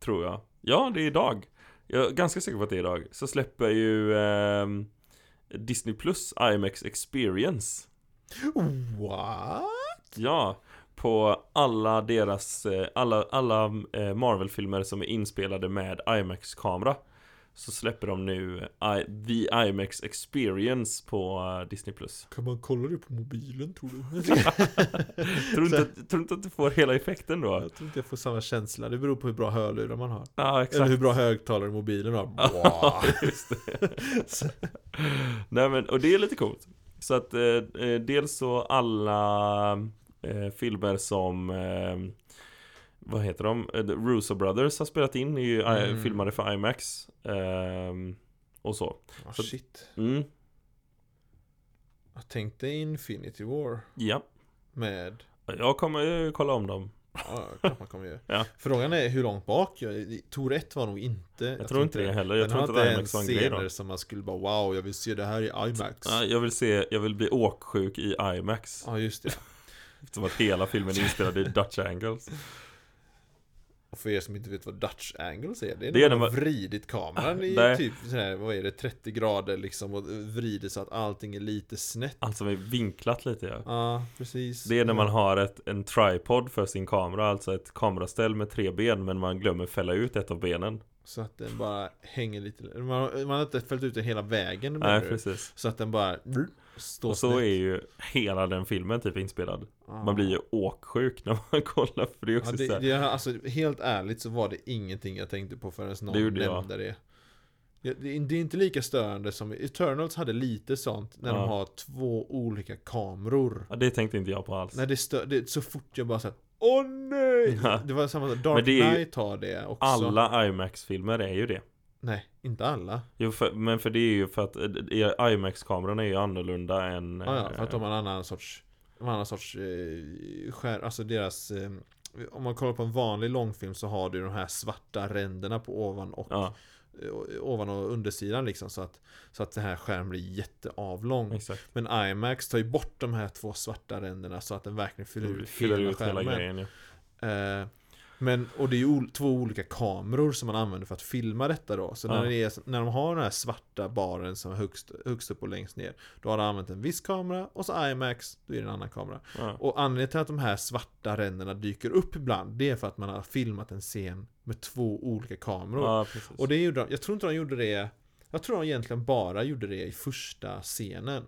tror jag. Ja, det är idag. Jag är ganska säker på att det är idag. Så släpper ju ehm, Disney Plus IMAX Experience.
What?
Ja, på alla deras, eh, alla, alla eh, Marvel-filmer som är inspelade med IMAX-kamera. Så släpper de nu I, The IMAX Experience på eh, Disney+. Plus.
Kan man kolla det på mobilen tror du?
Tror du inte, att- tror du inte att du får hela effekten då?
[LAUGHS] jag tror inte jag får samma känsla, det beror på hur bra hörlurar man har.
Ja,
Eller
exakt.
hur bra högtalare mobilen har.
[LAUGHS] Ja,
Wow.
just det. Nej men, och det är lite coolt. Så att eh, eh, dels så alla eh, filmer som eh, vad heter de? Eh, The Russo Brothers har spelat in, är ju eh,
Mm.
filmade för IMAX. ehm, och så.
Ah, shit.
Mm,
Jag tänkte Infinity War
ja.
med...
Jag kommer eh, kolla om dem.
Ja, klart man kommer göra.
Ja.
Frågan är hur långt bak? Jag- Tor 1 var nog inte
Jag tror inte det heller. Jag
Den har
tror inte att
inte
IMAX var
ens
en grej då.
scener som man skulle bara wow, jag vill se det här i IMAX.
Ja, jag vill se, jag vill bli åksjuk i IMAX.
Ja just det.
Eftersom att hela filmen är inspelad i Dutch angles.
Och för er som inte vet vad Dutch angles är, det är
Det
när
är
man
när Ah,
har vridit kameran i
Nej.
typ sån här, vad är det, 30 grader liksom och vrider så att allting är lite snett.
Allt som är vinklat lite ja.
Ja, precis.
Det är när man har ett, en tripod för sin kamera, alltså ett kameraställ med tre ben men man glömmer fälla ut ett av benen.
Så att den bara hänger lite, man, har- man har inte följt ut den hela vägen menar
Nej
du?
precis.
Så att den bara står
Och så
snett.
är ju hela den filmen typ inspelad.
Ja.
Man blir ju åksjuk när man [LAUGHS] kollar för det är
Ah. Ja,
också så
det,
här-
det, alltså, helt ärligt så var det ingenting jag tänkte på förrän någon
Det gjorde jag.
nämnde det. Ja, det. Det är inte lika störande som Eternals hade lite sånt när
Ja.
de har två olika kameror.
Ja, det tänkte inte jag på alls.
När det, stör, det så fort jag bara såhär Åh nej!
Ja.
Det var samma sak, Dark
Men det är ju-
Knight har det också.
Alla IMAX-filmer är ju det.
Nej, inte alla.
Jo, för, men för det är ju för att eh, eh, IMAX-kamerorna är ju annorlunda än...
Ja, ja, för att
eh,
de har en annan sorts, de har en annan sorts eh, skär, alltså deras eh, om man kollar på en vanlig långfilm så har du de här svarta ränderna på ovan och
Ja,
eh, ovan och undersidan liksom så att, så att den här skärmen blir jätteavlång.
exakt.
Men IMAX tar ju bort de här två svarta ränderna så att den verkligen fyller
Du
ut
Mm, fyller
hela
ut hela
skärmen.
grejen ju.
Eh, men, och det är ju ol- två olika kameror som man använder för att filma detta då. Så
Ja.
när, det är, när de har den här svarta baren som är högst, högst upp och längst ner. Då har de använt en viss kamera och så IMAX, då är det en annan kamera.
Ja.
Och anledningen till att de här svarta ränderna dyker upp ibland, det är för att man har filmat en scen med två olika kameror.
ja, precis.
Och det gjorde de, jag tror inte de gjorde det Jag tror de egentligen bara gjorde det i första scenen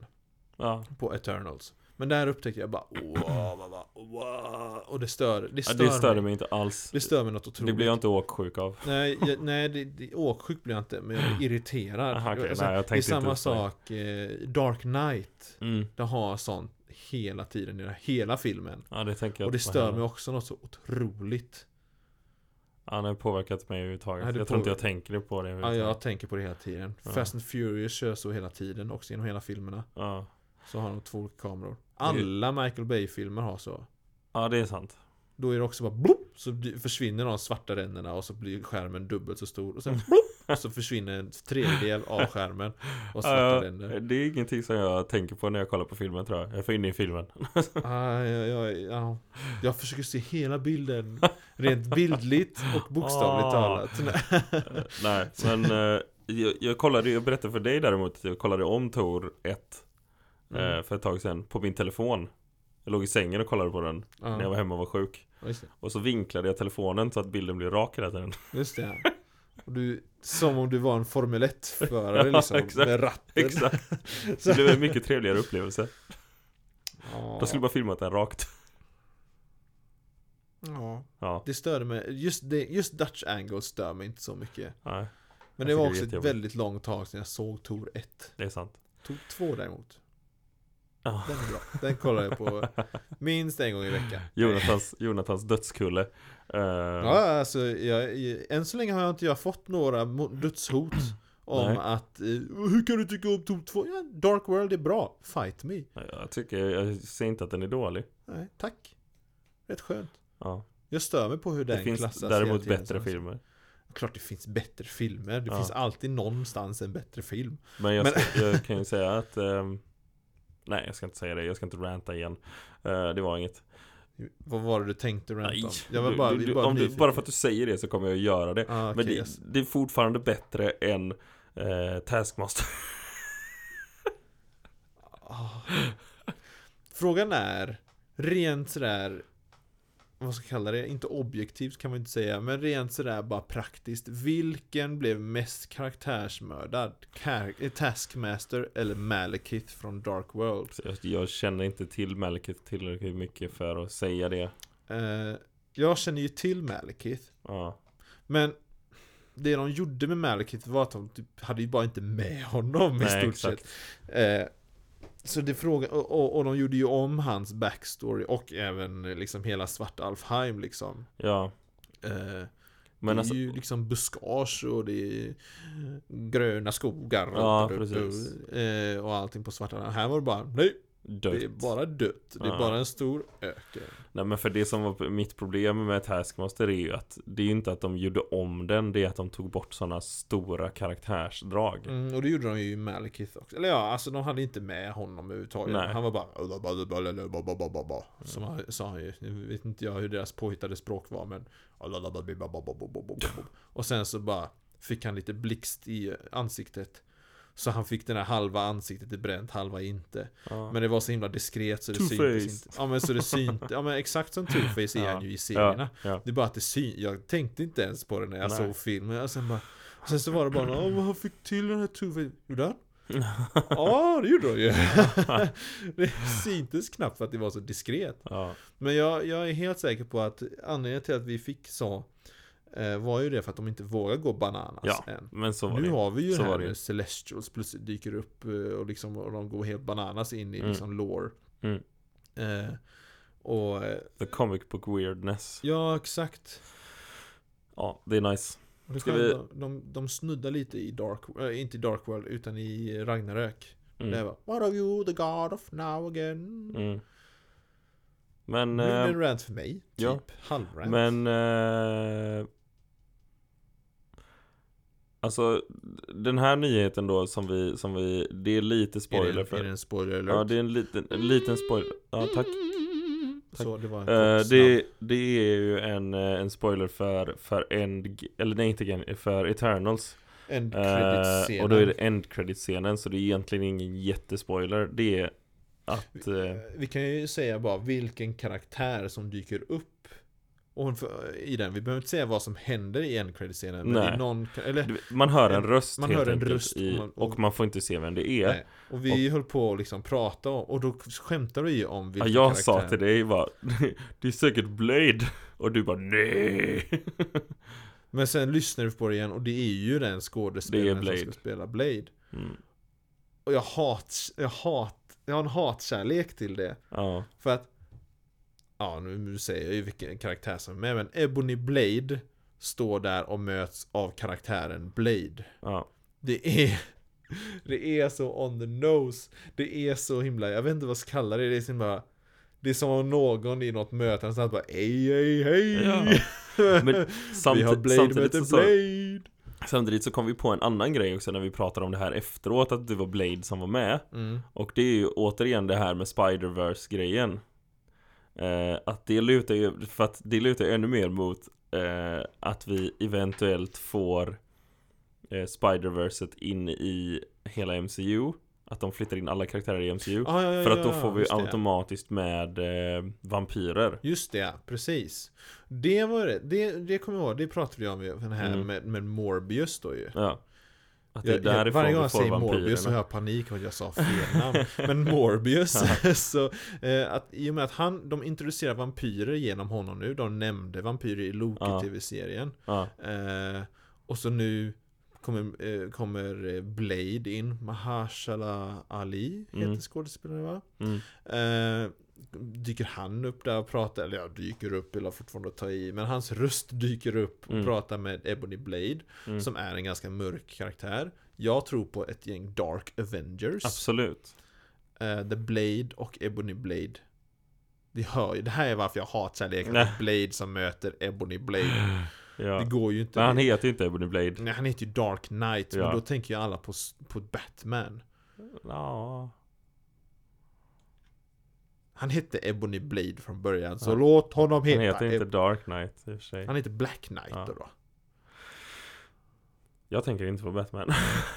ja.
på Eternals Men där upptäckte jag bara wow, wow, wow, wow. Och det stör, det
Ja,
stör,
det störde
mig.
mig inte alls.
Det stör mig något
Det
otroligt
blir jag inte åksjuk av.
Nej, jag, nej det, det, åksjuk blir jag inte men
[LAUGHS]
jag blir irriterad
Aha, Ah, okej,
Alltså,
nej, jag
Det är
tänkte inte
samma
upp på det.
sak eh, Dark Knight
Mm.
Det har sånt hela tiden i den här- hela filmen
Ja, det tänker jag
Och det
inte på
stör
heller.
mig också något så otroligt
Ja, det har påverkat mig överhuvudtaget.
Ja,
Jag
det
tror inte jag tänker på det
Ja, jag
överhuvudtaget.
tänker på det hela tiden
Ja.
Fast and Furious kör så hela tiden också genom hela filmerna
Ja.
Så har de två olika kameror.
är ju-
Alla Michael Bay-filmer har så.
ja, det är sant.
Då är det också bara blopp, så d- försvinner de svarta ränderna och så blir skärmen dubbelt så stor. Och sen blopp, och så försvinner en tredjedel av skärmen och svarta
Ja,
ränder.
det är ingenting som jag tänker på när jag kollar på filmen tror jag. Jag är för inne i filmen.
[LAUGHS] Ah, ja, ja, ja. Jag försöker se hela bilden. Rent bildligt och bokstavligt
Ah.
talat. Nej.
Eh, Nej, men eh, jag, jag kollade, jag berättade för dig däremot att jag kollade om Tor 1 eh,
Mm.
för ett tag sedan på min telefon. Jag låg i sängen och kollade på den när jag var
Ja,
hemma och var sjuk.
just det.
Och så vinklade jag telefonen så att bilden blev rak hela
[LAUGHS]
tiden.
Just det. Och du, som om du var en Formel 1-förare
Ja,
liksom,
exakt.
med ratten. [LAUGHS]
Exakt. Så det blev en mycket trevligare upplevelse.
Ja.
Då skulle bara filmat den rakt.
ja.
Ja,
Det störde mig, just, det, just Dutch Angle stör mig inte så mycket
nej, Jag tycker
Men det var
det är
också ett
jättejobbigt.
väldigt långt tag sedan jag såg Tor 1
det är sant.
Tor 2 däremot
Ja.
Den är bra, den kollar
[LAUGHS]
jag på minst en gång i veckan
Jonathans, Jonathans dödskulle. Eh,
Ja, alltså, jag, än så länge har jag inte jag fått några mo-
[CLEARS THROAT]
dödshot Om
Nej.
att, eh, hur kan du tycka om Tor 2? Ja, Dark World är bra, fight me
Jag tycker, jag ser inte att den är dålig.
Nej, tack Rätt skönt
Ja.
Jag stör mig på hur
Det
den
finns
klassas hela
däremot
tiden
bättre
som-
filmer.
Klart det finns bättre filmer, det
Ja.
finns alltid någonstans en bättre film
Men jag,
Men-
ska, jag kan ju säga att ehm, Nej jag ska inte säga det, jag ska inte ranta igen Eh, Det var inget
Vad var det du tänkte rant
Nej,
om? Jag var
du-
bara,
du,
vi
du,
bara,
om du, bara för att du säger det så kommer jag att göra det
ah,
Men
okay,
det,
yes.
det är fortfarande bättre än eh, Taskmaster [LAUGHS]
ah. Frågan är Rent sådär Vad ska jag kalla det? Inte objektivt kan man inte säga Men rent sådär bara praktiskt Vilken blev mest karaktärsmördad? Kar- eh, Taskmaster eller Malekith från Dark World?
Så jag, jag känner inte till Malekith tillräckligt mycket för att säga det
Eh, jag känner ju till Malekith
Ja,
Men det de gjorde med Malekith var att de typ hade ju bara inte med honom i
Nej,
stort
exakt.
sett. Eh, så det frågan, och, och, och de gjorde ju om hans backstory och även eh, liksom hela Svart Alfheim liksom.
ja
Eh,
Men
det
alltså,
är ju liksom buskage och det är gröna skogar
Ja,
och,
precis.
eh, och allting på Svart Alfheim. Här var det bara, nej,
dött.
Det är bara dött. Det är
Ja.
bara en stor öken.
Nej men för det som var mitt problem med Taskmaster är ju att Det är ju inte att de gjorde om den Det är att de tog bort sådana stora karaktärsdrag
Mm, och det gjorde de ju i Malekith också. Eller ja, alltså de hade inte med honom överhuvudtaget.
Nej.
Han var bara... Som han sa han ju. Nu vet inte jag hur deras påhittade språk var men... Och sen så bara fick han lite blixt i ansiktet. Så han fick den här halva ansiktet är bränt, halva inte.
ja.
Men det var så himla diskret så det
Two-Face.
syntes inte. Ja men så det syntes. Ja men exakt som Two-Face är
Ja.
han ju i serierna.
ja, ja.
Det är bara att det syn... Jag tänkte inte ens på det när jag
Nej.
såg filmen. Och sen, bara... och sen så var det bara Åh, vad han fick till den här tuvan. Gjorde
[LAUGHS]
han? ja, det gjorde han ju. [LAUGHS] det syntes knappt för att det var så diskret.
ja.
Men jag, jag är helt säker på att anledningen till att vi fick så eh, var ju det för att de inte vågar gå bananas
Ja,
än.
Men så var
Alltså, Nu
det
har vi ju
Så
det här
var det ju.
med Celestials plötsligt dyker upp eh, och, liksom, och de går helt bananas in i
Mm.
liksom lore.
Mm.
Eh, och eh,
The comic book weirdness
ja, exakt.
Ja, det är nice
Och det
Ska
Ska vi...
vi-
de, de, de snuddar lite i Dark äh, inte i Dark World, utan i Ragnarök.
Mm.
Det var What are you the God of now again?
Mm. Men,
Nu är det
eh,
en rant för mig, typ.
ja.
Halvrant.
men eh, Alltså den här nyheten då som vi, som vi Det är lite
är,
spoiler
det en,
för
är det en spoiler alert?
Ja det är en liten, en liten spoiler Ja tack
Så det var en
Eh,
kort
det, det är ju en, eh, en spoiler för, för End... Eller nej, inte End, för Eternals.
snabb end
Eh,
credit-scenen.
och då är det End credit-scenen, så det är egentligen ingen jättespoiler. Det är att... eh,
Eh, Vi kan ju säga bara vilken karaktär som dyker upp och för- i den. Vi behöver inte säga vad som händer i end credit-scenen. men
Nej.
det är någon, eller
du vet, man hör en
en-
röst
man
helt
hör en
enkelt
röst och
i,
man-
och man får inte se vem det är.
Nej. Och vi höll på att liksom prata om, och då skämtade vi ju om
Ja,
vilken
jag
karaktär.
sa till dig bara [LAUGHS] Det är säkert Blade Och du bara
[LAUGHS]
nej
Men sen lyssnar vi på det igen och det är ju den skådespelaren
Det är
som ska
Blade.
spela Blade.
mm,
Och jag hat, jag hat, jag har en hatkärlek till det.
Ja,
För att, ja nu- nu säger jag ju vilken karaktär som är med, men Ebony Blade står där och möts av karaktären Blade.
ja,
Det är, [LAUGHS] det är så on the nose. Det är så himla, jag vet inte vad jag ska kalla det, det är så himla det är som om någon i något möte har sagt bara Ej, ej, hej! [LAUGHS]
Ja. Men
Vi har
samtid-
Blade
samtidigt
möter
så sa-
Blade!
Samtidigt så kom vi på en annan grej också när vi pratade om det här efteråt Att det var Blade som var med
Mm.
Och det är ju återigen det här med Spider-Verse grejen eh, Att det lutar ju, för att det lutar ju ännu mer mot eh, Att vi eventuellt får eh, Spider-Verset in i hela MCU Att de flyttar in alla karaktärer i MCU
Ah, ja, ja,
För att då
ja,
får vi
just det.
automatiskt med eh, vampyrer
Just det, ja, precis. Det var det. Det, det kommer jag ihåg, det pratade vi om ju, den här
Mm.
med, med Morbius då ju.
Ja Att det är
Jag, jag,
därifrån
varje gång
vi
jag
får
säger Morbius så
vampyrerna
har jag panik om att jag sa fel namn. Men Morbius,
[LAUGHS]
[LAUGHS] så eh, att, i och med att han, de introducerar vampyrer genom honom nu, de nämnde vampyrer i
Ja.
Loki-tv-serien.
ja,
Eh, och så nu kommer, eh, kommer eh, Blade in, Mahershala Ali heter
Mm.
skådespelaren va?
mm,
Eh, dyker han upp där och pratar, eller ja, dyker upp, eller fortfarande att ta i, men hans röst dyker upp och
Mm.
pratar med Ebony Blade,
mm.
som är en ganska mörk karaktär. Jag tror på ett gäng Dark Avengers.
Absolut
Eh, The Blade och Ebony Blade. Det hör ju, det här är varför jag hatar leken
Nej.
Blade som möter Ebony Blade.
[LAUGHS] Ja
Det går ju inte.
Men han heter ju inte Ebony Blade
Nej, han heter ju Dark Knight,
Ja.
men då tänker ju alla på, s- på Batman.
Ja
Han hette Ebony Blade från början, så
Ja.
låt honom heta
Han heter inte
Eb-
Dark Knight i och för sig
han heter Black Knight
Ja.
då då.
Jag tänker inte på Batman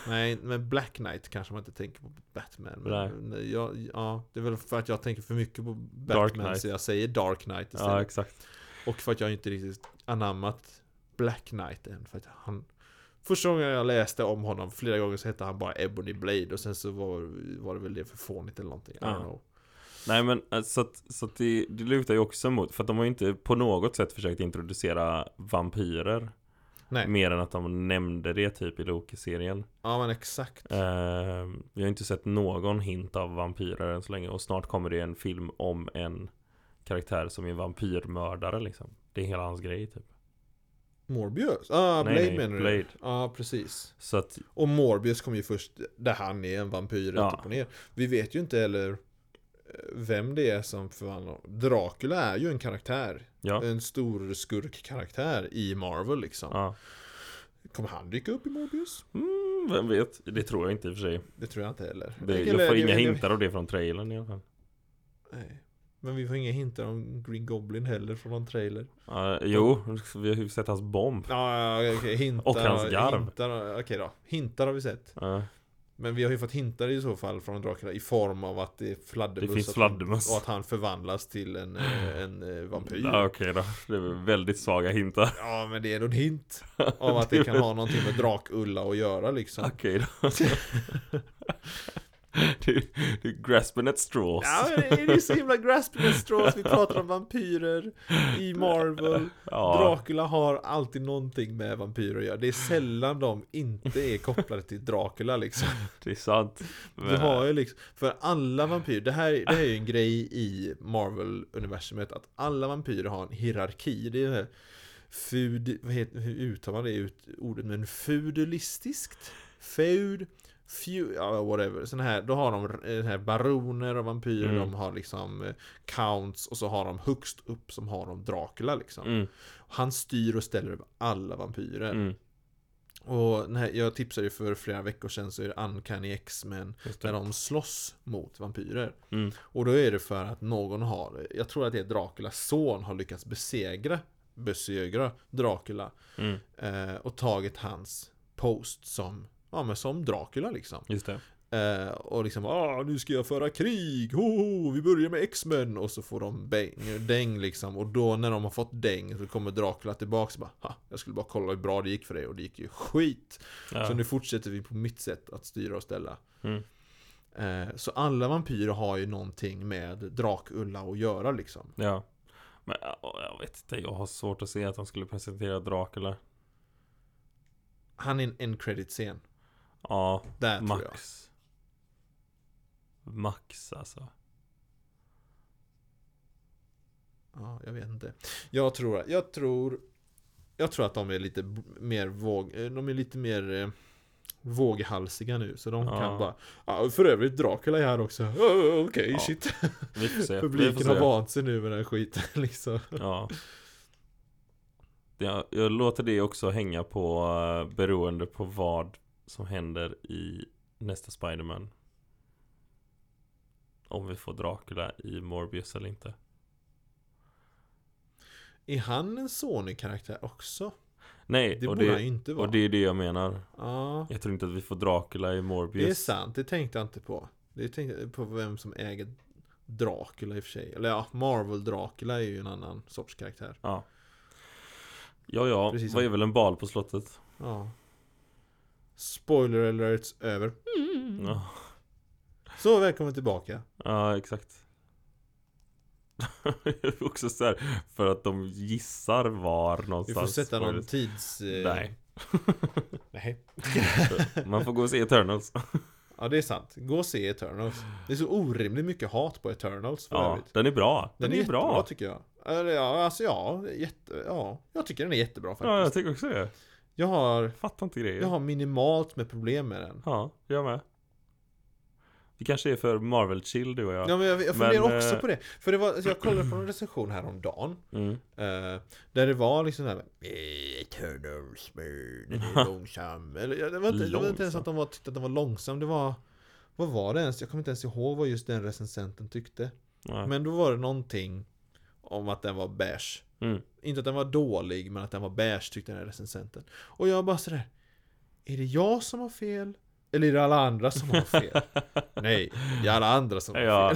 Nej, men Black Knight kanske man inte tänker på Batman.
Nej.
Men nej. Jag, ja, det är väl för att jag tänker för mycket på
Dark
Batman
Knight.
så jag säger Dark Knight
Ja [LAUGHS]
istället.
exakt
Och för att jag inte riktigt anammat Black Knight än. För att han, första gången jag läste om honom, flera gånger så hette han bara Ebony Blade och sen så var, var det väl det för fånigt eller någonting. I
Ja.
don't know.
Nej men eh, så att, så att det, det lutar ju också mot För att de har ju inte på något sätt försökt introducera vampyrer
Nej.
Mer än att de nämnde det typ i Loki-serien
Ja men exakt.
Eh, vi har inte sett någon hint av vampyrer än så länge och snart kommer det en film om en karaktär som är vampyrmördare liksom. Det är hela hans grej typ.
Morbius? Ah,
Nej,
Blade
nej,
menar du?
Blade.
Ja, precis.
Så att,
Och Morbius kom ju först där han är en vampyr rätt
Ja.
upp och ner. Vi vet ju inte heller eh, vem det är som förvandlar Dracula är ju en karaktär.
Ja.
En stor skurkkaraktär i Marvel liksom.
ja.
Kommer han dyka upp i Morbius?
Mm, vem vet? Det tror jag inte i och för sig.
Det tror jag inte heller.
Det,
Eller,
jag får
det
inga
vet
hintar av det från trailern i alla fall.
Nej. Men vi får inga hintar om Green Goblin heller från någon trailer.
Ja, jo, vi har ju sett hans bomb.
Ja, ja, okej. Hintar.
Och hans garv.
Hintar, okej då. Hintar har vi sett.
Ja,
Men vi har ju fått hintar i så fall från Dracula i form av att det är fladdermöss.
Det finns
och att-
fladdermöss.
Och att han förvandlas till
[GASPS]
en, eh, en eh, vampyr.
ja, Okej då, det är väl väldigt svaga hintar.
[LAUGHS] Ja men det är nog en
[LAUGHS]
hint av att det kan ha någonting med Drakulla att göra liksom.
Okej då. [LAUGHS] du, du grasping at straws.
Ja men det är ju så himla grasping at straws, vi pratar om vampyrer i Marvel.
[LAUGHS] Ja,
Dracula har alltid någonting med vampyrer att göra. Det är sällan de inte är kopplade till Dracula liksom.
det är sant.
Du
Men,
har ju liksom, för alla vampyrer, det här, det här är ju en grej i Marvel-universumet att alla vampyrer har en hierarki. Det är ju det här fud, vad heter, hur uttalar man det ut, ordet, men feudalistiskt? Feud? Feud, ja, whatever. Sån här, då har de eh, här baroner och vampyrer,
Mm.
de har liksom eh, counts och så har de högst upp som har de Dracula liksom.
mm,
Han styr och ställer över alla vampyrer.
mm,
Och den här, jag tipsade ju för flera veckor sedan så är det Uncanny X-Men
just
där
det.
de slåss mot vampyrer.
Typ. Mm,
Och då är det för att någon har, jag tror att det är Draculas son har lyckats besegra, besegra Dracula
mm,
eh, och tagit hans post som, ja men som Dracula liksom.
just det.
Eh, och liksom, ah nu ska jag föra krig, ho, vi börjar med X-Men och så får de bäng, däng liksom och då när de har fått däng så kommer Dracula tillbaks och bara, ha, jag skulle bara kolla hur bra det gick för dig och det gick ju skit.
Ja.
Så nu fortsätter vi på mitt sätt att styra och ställa.
Mm.
Eh, Så alla vampyrer har ju någonting med Drakulla att göra liksom.
Ja. Men ja, jag vet inte, jag har svårt att se att de skulle presentera Dracula.
Han är en end credit scen.
Ja,
Där tror jag.
max. Max alltså.
Ja, jag vet inte. Jag tror, jag tror, jag tror att de är lite b- mer våg, eh, de är lite mer eh, våghalsiga nu. Så de
Ja.
kan bara, ja för övrigt Dracula är här också. Oh, Okej,
Ja,
shit.
Vi får se. vi
[LAUGHS] Publiken
får
har
se.
vant sig nu med den här skiten [LAUGHS] liksom.
Ja. Jag, jag låter det också hänga på eh, beroende på vad som händer i nästa Spider-Man. Om vi får Dracula i Morbius eller inte.
Är han en Sony-karaktär också?
Nej,
Det
och,
borde han ju
det,
inte vara.
och det är det jag menar.
ja.
Jag tror inte att vi får Dracula i Morbius.
Det är sant, det tänkte jag inte på. Det tänkte jag på vem som äger Dracula i och för sig. Eller ja, Marvel Dracula är ju en annan sorts karaktär.
Ja, ja.
Precis som-
Vad är väl en bal på slottet?
Ja. Spoiler alerts över.
Ja.
Så välkommen tillbaka.
Ja, exakt. [LAUGHS] också så här, för att de gissar var någonstans.
Vi får sätta någon
Morbius-
tids... eh,
Nej.
Nej.
Man får gå och se Eternals.
[LAUGHS] Ja, det är sant. Gå och se Eternals. Det är så orimligt mycket hat på Eternals för
Ja,
övrigt.
den är bra. Den, är,
jättebra,
bra.
tycker jag. Eller ja, alltså ja, jätte, ja. Jag tycker den är jättebra faktiskt.
Ja, jag tycker också det.
jag, har,
Fattar inte grejer.
jag
Ja,
har minimalt med problem med den.
jag med. Vi kanske är för Marvel-chill du och jag.
Ja, men jag, jag
Men,
funderar
eh,
också på det. För det var, alltså, jag kollade på en recension häromdagen.
Mm.
Eh, där det var liksom såhär eh, Eternals, eh, den
[LAUGHS]
är långsam. Eller, ja, det, var inte, det var inte ens
Långsam.
att de var, tyckte att den var långsam. Det var... Vad var det ens? Jag kommer inte ens ihåg vad just den recensenten tyckte.
Nej.
Men då var det någonting om att den var beige.
Mm.
Inte att den var dålig, men att den var beige tyckte den här recensenten. Och jag bara sådär Är det jag som har fel? Eller är det alla andra som
[LAUGHS]
har fel? Nej, det är alla andra som har
Ja,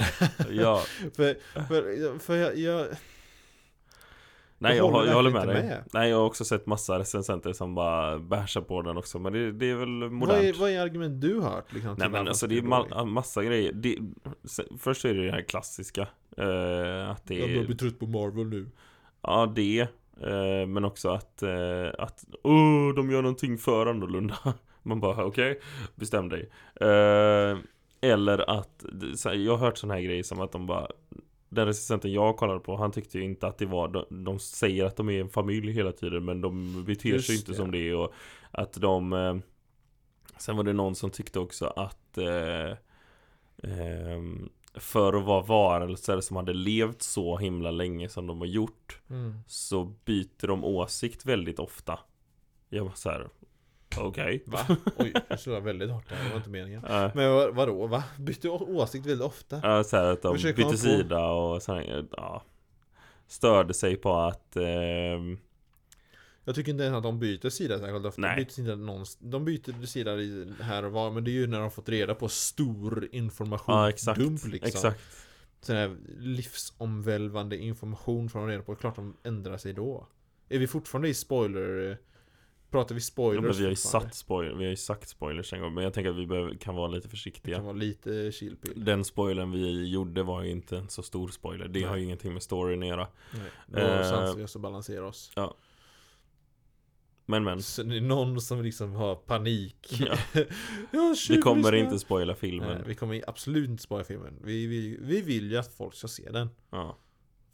[LAUGHS]
fel.
ja.
För, för, för jag, jag...
Nej,
Jag
jag,
håller
håller- jag håller med
verkligen
dig.
inte med.
Nej, jag har också sett massa recensenter som bara bärsar på den också. Men det, det är väl
Vad
modernt.
är, vad är argument du hört? Liksom, till
Nej men
varför
alltså
den
det är
är dålig?
ma- massa grejer. Det, se- först är det det här klassiska. eh, att det
Jag
är
börjar bli trött på Marvel nu.
Ja, det. Eh, Men också att, eh, att oh, de gör någonting för annorlunda. [LAUGHS] Man bara, okej, bestäm dig. Eh, Eller att, så här, jag har hört sån här grejer som att de bara den recensenten jag kollade på, han tyckte ju inte att det var de, de säger att de är en familj hela tiden men de beter
Just
sig inte
det.
som det och att de eh, Sen var det någon som tyckte också att eh, ehm, för att vara varelser som hade levt så himla länge som de har gjort
Mm.
så byter de åsikt väldigt ofta. Jag var så här. okej.
Va? [LAUGHS] Oj, nu slog jag väldigt hårt där, det var inte meningen.
Okay.
Men vad- vadå, va? Bytte å- åsikt väldigt ofta?
Ja, eh, så här att de
Försöker man
bytte
få-
sida och så här, ja, Störde sig på att ehm,
Jag tycker inte ens att de byter sida särskilt ofta.
Nej.
De byter sida, någonst- de byter sida i- här och var, men det är ju när de har fått reda på stor information.
Ja exakt,
Dump liksom.
exakt
Sån här livsomvälvande information från reda på. Klart de ändrar sig då. Är vi fortfarande i spoiler... Pratar
ja,
vi spoilers?
men vi har ju
fortfarande?
satt spoiler, vi har ju sagt spoilers en gång Men jag tänker att vi behöver, kan vara lite
Det kan
försiktiga
vara lite chillpill.
Den spoilern vi gjorde var ju inte en så stor spoiler Det
Nej.
har ju ingenting med storyn att göra
Nej,
Eh.
någonstans vi måste balansera oss.
Men men
Så det är någon som liksom har panik.
[LAUGHS] Ja.
[LAUGHS] Ja,
Vi kommer
tjuvlyssna.
inte spoila filmen
Nej, vi kommer absolut inte spoila filmen. Vi, vi, vi vill ju att folk ska se den.
ja.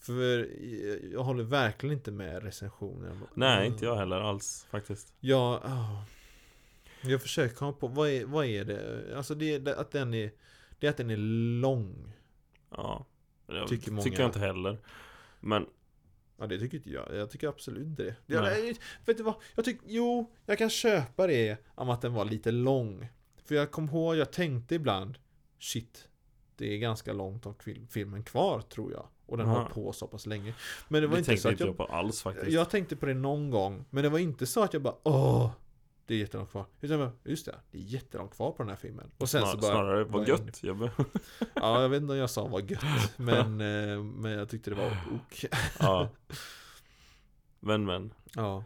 För eh, jag håller verkligen inte med recensionen.
Nej inte jag heller alls faktiskt
Jag, ah. jag försöker komma på, vad är, vad är det? Alltså det är det- att den är, det är att den är lång.
Ja jag,
Tycker
tycker,
många.
jag inte heller Men
Ja det tycker inte jag. Jag tycker absolut inte det. Jag,
Nej.
nej, vet du vad? Jag tycker, jo, jag kan köpa det om att den var lite lång. För jag kom ihåg, jag tänkte ibland, shit, det är ganska långt av fil- filmen kvar tror jag. Och den
Aha.
har på så pass länge. Men det
det,
var inte
tänkte
så att
inte jag,
jag,
på alls faktiskt
jag tänkte på det någon gång. Men det var inte så att jag bara, åh, det är jättelångt kvar. Utan jag bara, just det, det är jättelångt kvar på den här filmen. Och sen
Snar,
så bara,
Snarare, vad
bara in-
gött! Jag be-
Ja, jag vet inte om jag sa vad gött. [LAUGHS] Men, eh, men jag tyckte det var ok.
[LAUGHS] ja. Men men
Ja.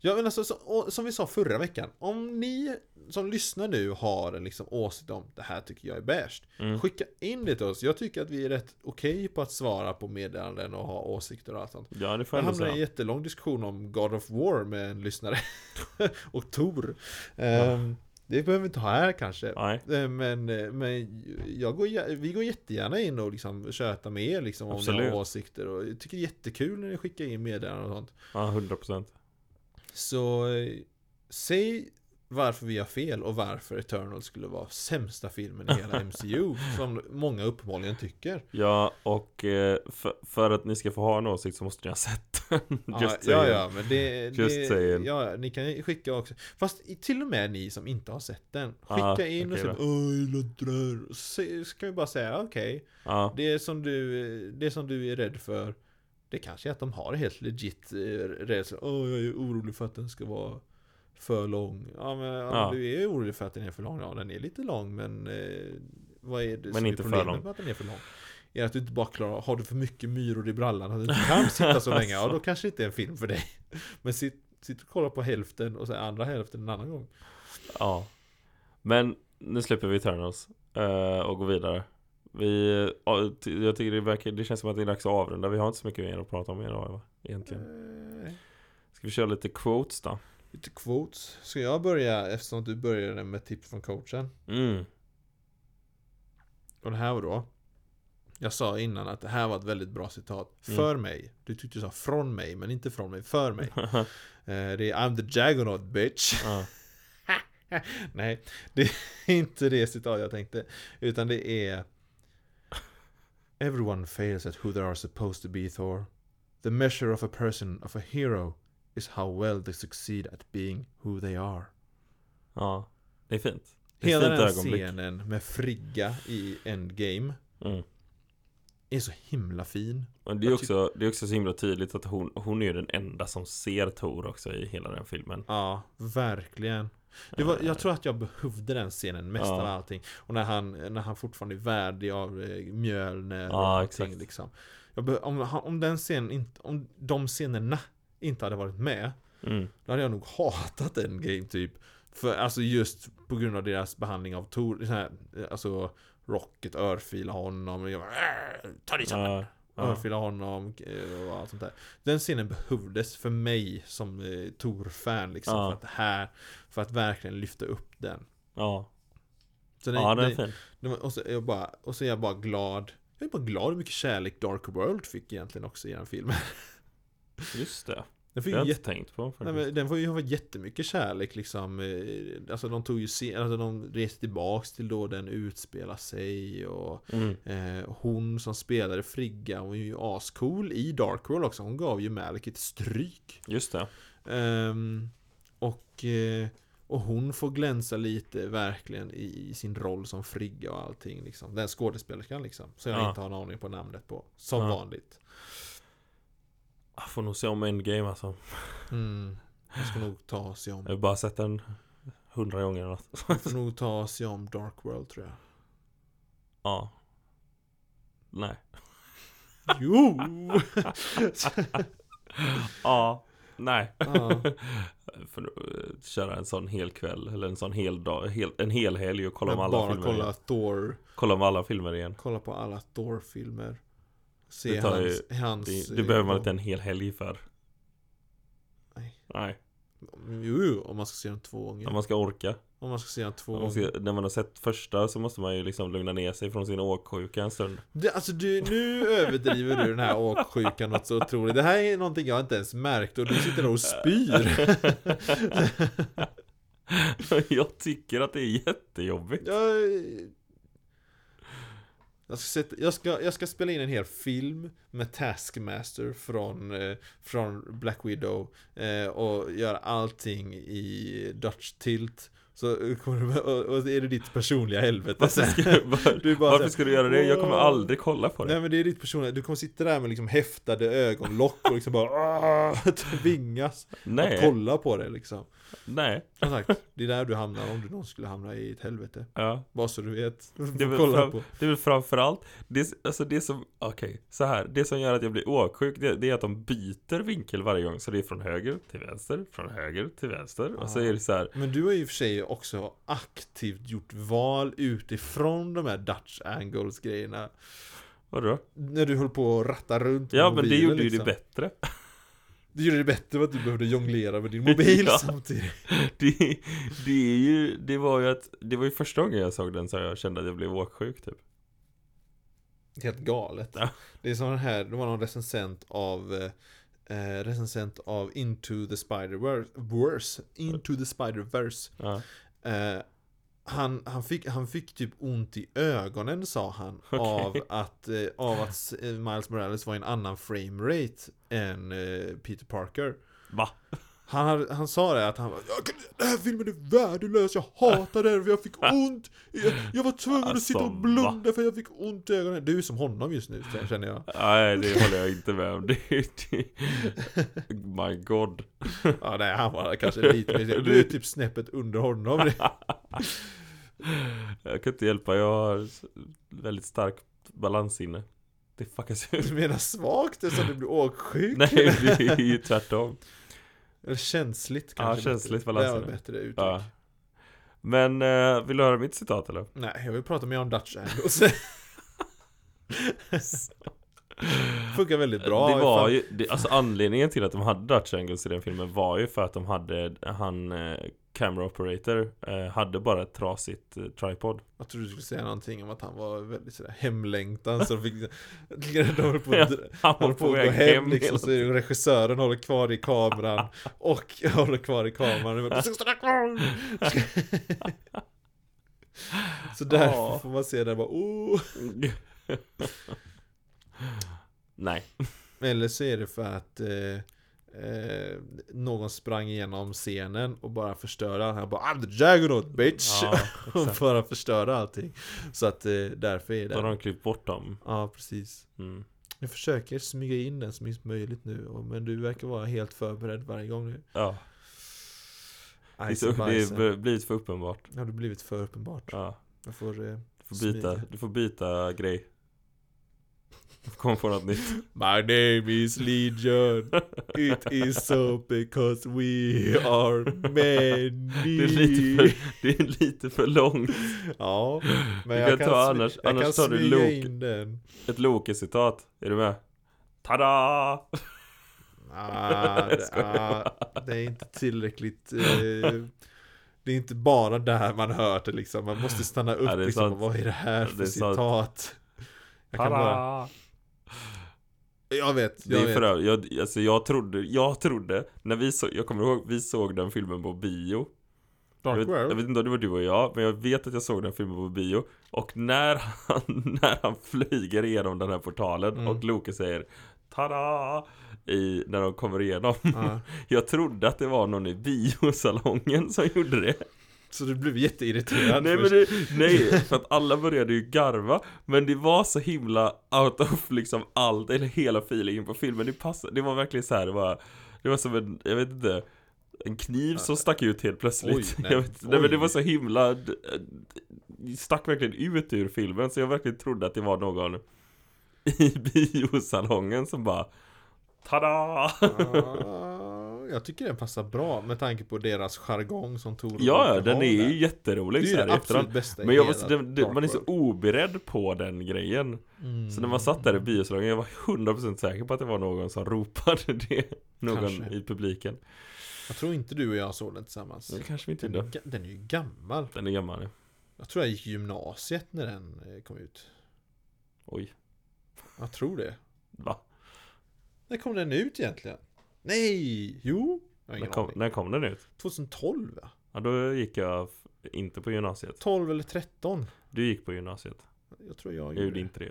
Ja men alltså, så, och, som vi sa förra veckan. Om ni som lyssnar nu har en liksom åsikt om det här tycker jag är bäst.
mm.
Skicka in det till oss. Jag tycker att vi är rätt okej på att svara på meddelanden och ha åsikter och allt sånt.
Ja det får
Jag
jag ändå
hamnade i en
säga
jättelång diskussion om God of War med en lyssnare. [LAUGHS] och Tor. Ehm, det behöver vi inte ha här kanske.
Nej,
Eh, Men, eh, men jag går, jä- vi går jättegärna in och liksom tjötar med er liksom, om ni
Absolut.
har åsikter. Och jag tycker det är jättekul när ni skickar in meddelanden och sånt.
ja 100%
Så eh, säg varför vi har fel och varför Eternal skulle vara sämsta filmen i
[LAUGHS]
hela MCU. som många uppenbarligen tycker.
Ja och eh, för, för att ni ska få ha en åsikt så måste ni ha sett den [LAUGHS]
Ja,
Just
ja,
saying.
ja, men det...
Just
det
saying.
ja, ni kan ju skicka också. Fast i- till och med ni som inte har sett den. Skicka
Ah,
in
okej
och säg
då.
Åh, jag gillar inte det här. Och Så så kan vi bara säga okej.
ja.
Det som du, det som du är rädd för Det kanske är att de har helt legit eh, rädsla Åh, jag är orolig för att den ska vara för lång Ja men ja.
Ja.
du är orolig för att den är för lång Ja den är lite lång men eh, Vad är det
Men
som
inte
är
för
problemet
lång.
med att den är för lång? Är att du inte bara klarar, har du för mycket myror i brallan att du inte kan sitta så länge?
[LAUGHS]
Ja då kanske inte är en film för dig Men sitt, sitt och kolla på hälften och sen andra hälften en annan gång
ja Men nu släpper vi Eternals eh, och går vidare Vi, ja, ty- jag tycker det verkar, det känns som att det är dags att avrunda Vi har inte så mycket mer att prata om idag va? Egentligen
Eh,
Ska vi köra lite quotes då?
Lite quotes Ska jag börja eftersom du började med tips från coachen?
Mm,
Och det här var då Jag sa innan att det här var ett väldigt bra citat
Mm.
För mig Du tyckte du sa från mig men inte från mig,
[LAUGHS]
för mig Eh, Det är I'm the Jaggernaut bitch [LAUGHS]
ja.
Nej, det är inte det citat jag tänkte Utan det är Everyone fails at who they are supposed to be Thor The measure of a person, of a hero Is how well they succeed at being who they are
ja Det är fint Det är
Hela
ett
den här
fint ögonblick
scenen med Frigga i Endgame
mm.
Är så himla fin
Och det, är också, det är också så himla tydligt att hon, hon är ju den enda som ser Tor också i hela den filmen
Ja, verkligen. Det var, jag tror att jag behövde den scenen mest
Eh. Ja.
av allting. Och när han, när han fortfarande är värdig av eh, Mjölner och
Ja,
allting
exakt.
liksom. Jag be, om, han- om den scenen inte, om de scenerna inte hade varit med,
mm.
då hade jag nog hatat en game typ. För alltså just på grund av deras behandling av Tor, det här, eh, alltså Rocket örfilar honom och jag bara, "Äh, Ta dig samman!
Ja, ja.
örfila honom eh, och allt sånt där. Den scenen behövdes för mig som eh, Tor-fan liksom.
Ja.
För, att det här, för att verkligen lyfta upp den.
Ja,
Så den,
ja den är
den,
fin
den var- och, så är jag bara, och så är jag bara glad. Jag är bara glad hur mycket kärlek Dark World fick egentligen också i den filmen.
Just det
[LAUGHS]
Det
Den fick
har
ju
jag
jätte,
inte tänkt på
nej,
faktiskt.
men den får ju ha jättemycket kärlek liksom. Eh, Alltså de tog ju se, alltså de reste tillbaks till då den utspelar sig och
mm.
eh, hon som spelade Frigga, hon är ju ascool i Darkroll också. Hon gav ju Malik ett stryk.
Just det.
Ehm, och, eh, och hon får glänsa lite verkligen i, i sin roll som Frigga och allting liksom. Den skådespelerskan liksom. Som jag
Ja.
inte har en aning på namnet på. Som
Ja.
vanligt.
Jag får nog se om Endgame alltså.
Mm. Jag ska nog ta sig om.
Jag har bara sett den hundra gånger eller något.
Jag får nog ta sig om Dark World tror jag.
Ja. Nej.
[LAUGHS] Jo!
Ja. Nej.
ja.
För att eh, köra en sån hel kväll eller en sån hel dag, hel, en hel helg och kolla om alla
Bara
filmer
kolla
igen.
Thor.
Kolla om alla filmer igen.
Kolla på alla Thor-filmer. Se
Det tar ju-
hans... hans
Det,
eh,
det behöver man inte en hel helg för.
Nej.
Nej.
Jo, jo, om man ska se dem två gånger.
När man ska orka.
Om man ska se dem två
När man,
gånger.
ska, när man har sett första så måste man ju liksom lugna ner sig från sin åksjuka en
[LAUGHS]
stund.
Det, alltså du, nu överdriver du den här åksjukan något så otroligt. Det här är någonting jag inte ens märkt och du sitter där och spyr.
Jag tycker att det är
[LAUGHS]
jättejobbigt.
Jag, jag, ska, sätta, jag, ska, jag ska spela in en hel film med Taskmaster från, eh, från Black Widow eh, och göra allting i Dutch tilt. Så kommer du, och, och är det ditt personliga helvete.
Varför ska, var,
[LAUGHS] Du är bara
varför
såhär,
ska du göra det? Jag kommer
"Åh."
aldrig kolla på det.
Nej men det är ditt personliga, du kommer sitta där med liksom häftade ögonlock och liksom bara "Åh", [LAUGHS] tvingas att
Nej,
kolla på det liksom.
nej.
Som sagt, det är där du hamnar om du någonsin skulle hamna i ett helvete.
Ja.
Bara så du vet. [LAUGHS]
Det är väl
Kolla
fram-
på.
Det är väl framförallt, det, är- alltså det som, okej, så här. Det som gör att jag blir åksjuk, det, det är att de byter vinkel varje gång. Så det är från höger till vänster, från höger till vänster. Och så
Ja.
är det så här.
Men du har ju i och för sig också aktivt gjort val utifrån de här Dutch angles grejerna.
vadå?
När du höll på att ratta runt med
Ja men det
mobilen,
gjorde ju det
liksom.
bättre. [LAUGHS]
Det gjorde det bättre för att du behövde jonglera med din mobil
Ja.
samtidigt.
Det, det är ju, det var ju att, det var ju första gången jag såg den så jag kände att jag blev åksjuk typ.
Helt galet.
Ja.
Det är som den här, det var någon recensent av eh, Eh, recensent av Into the Spider-Verse Verse. Into the Spider-Verse
Ja.
Eh, han, han, fick, han fick typ ont i ögonen sa han
Okej.
av att, eh, av att eh, Miles Morales var i en annan framerate än eh, Peter Parker.
Va?
Han, hade- han sa det att han var jag, kan- Den här filmen är värdelös, jag hatar den för
[LAUGHS]
jag fick ont Jag, jag var tvungen att sitta och
Alltså,
blunda för jag fick ont i ögonen Du är som honom just nu känner
[LAUGHS]
jag
Nej det håller jag inte med om. Det, det, my god.
Ja nej han var kanske
[LAUGHS]
lite mer Du är typ snäppet under honom
Jag kan inte hjälpa, jag har s- väldigt starkt balanssinne. Det fuckas ut.
[LAUGHS] Du menar svagt eftersom du blir åksjuk?
Nej, det är ju tvärtom.
Eller känsligt
Ja,
kanske
känsligt
bättre.
balansen.
Det var bättre uttryck
Ja. Men eh, vill du höra mitt citat eller?
Nej, jag vill prata mer om Dutch Angles [LAUGHS] Funkar väldigt bra
det var
ifall-
ju, det, alltså anledningen till att de hade Dutch Angles i den filmen var ju för att de hade, han eh, Camera operator eh, hade bara ett trasigt eh, tripod
Jag trodde du skulle säga någonting om att han var väldigt sådär hemlängtan så de fick
[LAUGHS]
De höll på att dra-
Han
håller på att gå hem liksom, så regissören håller kvar i kameran [LAUGHS] och håller kvar i kameran och bara, "Du ska stanna kvar!" [LAUGHS] Så därför
Ja.
får man se det bara oh.
hela... [LAUGHS] Nej,
Eller så är det för att eh, eh, någon sprang igenom scenen och bara förstörde allt. Han bara I'm the juggernaut
[LAUGHS]
bitch!
ja,
[LAUGHS] och
exakt.
bara förstörde allting. Så att eh, därför är
Då har
det.
de klippt bort dem
Ja, precis.
mm.
Jag försöker smyga in den så mycket som möjligt nu. och- Men du verkar vara helt förberedd varje gång nu.
Ja, det, är
Ice
så, det är
bajsen.
b- blivit för uppenbart
Har du blivit för uppenbart?
ja.
Jag får... Eh,
du, får byta,
Smyga.
du får byta grej Kom på något
[LAUGHS]
nytt
My name is Legion. It is so because we are many.
Det är lite för, det är lite för långt
Ja, men
Du
jag
kan
kan,
ta
smy-
annars-
jag
annars
kan
tar du
smyga
Luke.
in den.
Ett Loke-citat, är du med? Tada!
Ah,
Jag
det,
skojar
ah, det är inte tillräckligt... Eh, det är inte bara där man hör det liksom. Man måste stanna upp
Ja, det är
liksom.
sant.
Vad är det här
Ja,
för
det är sant.
citat? Jag kan bara,
Tada!
Jag vet,
Det
jag
är för
vet.
övrigt, jag, alltså jag trodde, jag trodde, när vi såg, jag kommer ihåg, vi såg den filmen på bio jag
Dark
vet, jag
World.
vet inte om det var du och jag, men jag vet att jag såg den filmen på bio Och när han, [LAUGHS] när han flyger igenom den här portalen
Mm.
och Loke säger Tada! I, när de kommer igenom
Ja.
[LAUGHS] Jag trodde att det var någon i biosalongen som gjorde det
Så du blev jätteirriterad.
Nej men
först.
det, nej, för att alla började ju garva Men det var så himla out of liksom allt, eller hela feelingen på filmen Det passade, det var verkligen så här, det var Det var som en, jag vet inte En kniv som stack ut helt plötsligt
Oj, nej.
nej. [LAUGHS] Jag vet, nej men det
Oj.
var så himla d- d- Stack verkligen ut ur filmen så jag verkligen trodde att det var någon I [LAUGHS] biosalongen som bara Tada!
[LAUGHS] Ah, jag tycker den passar bra med tanke på deras jargong som Tor
Ja, ja,
brukar
den
ha
är
där.
ju
Det
jätterolig
är ju
så här
det
i efterhand
absolut bästa i
Men jag var
hela
så, det, det,
Dark
man är så
World.
oberedd på den grejen
Mm.
Så när man satt där i biosalongen, jag var 100% säker på att det var någon som ropade [LAUGHS] det Någon
Kanske.
i publiken
Jag tror inte du och jag såg den tillsammans
Det kanske vi inte
den,
gjorde
är ga- den är ju gammal
Den är gammal ja.
Jag tror jag gick i gymnasiet när den eh, kom ut
Oj,
Jag tror det
va?
När kom den ut egentligen? Nej! Jo! Jag
När
har ingen
kom,
aning.
när kom den ut?
2012 va?
Ja då gick jag f- inte på gymnasiet
12 eller 13
Du gick på gymnasiet
Jag tror jag
Jag
gjorde
gjorde
det
inte det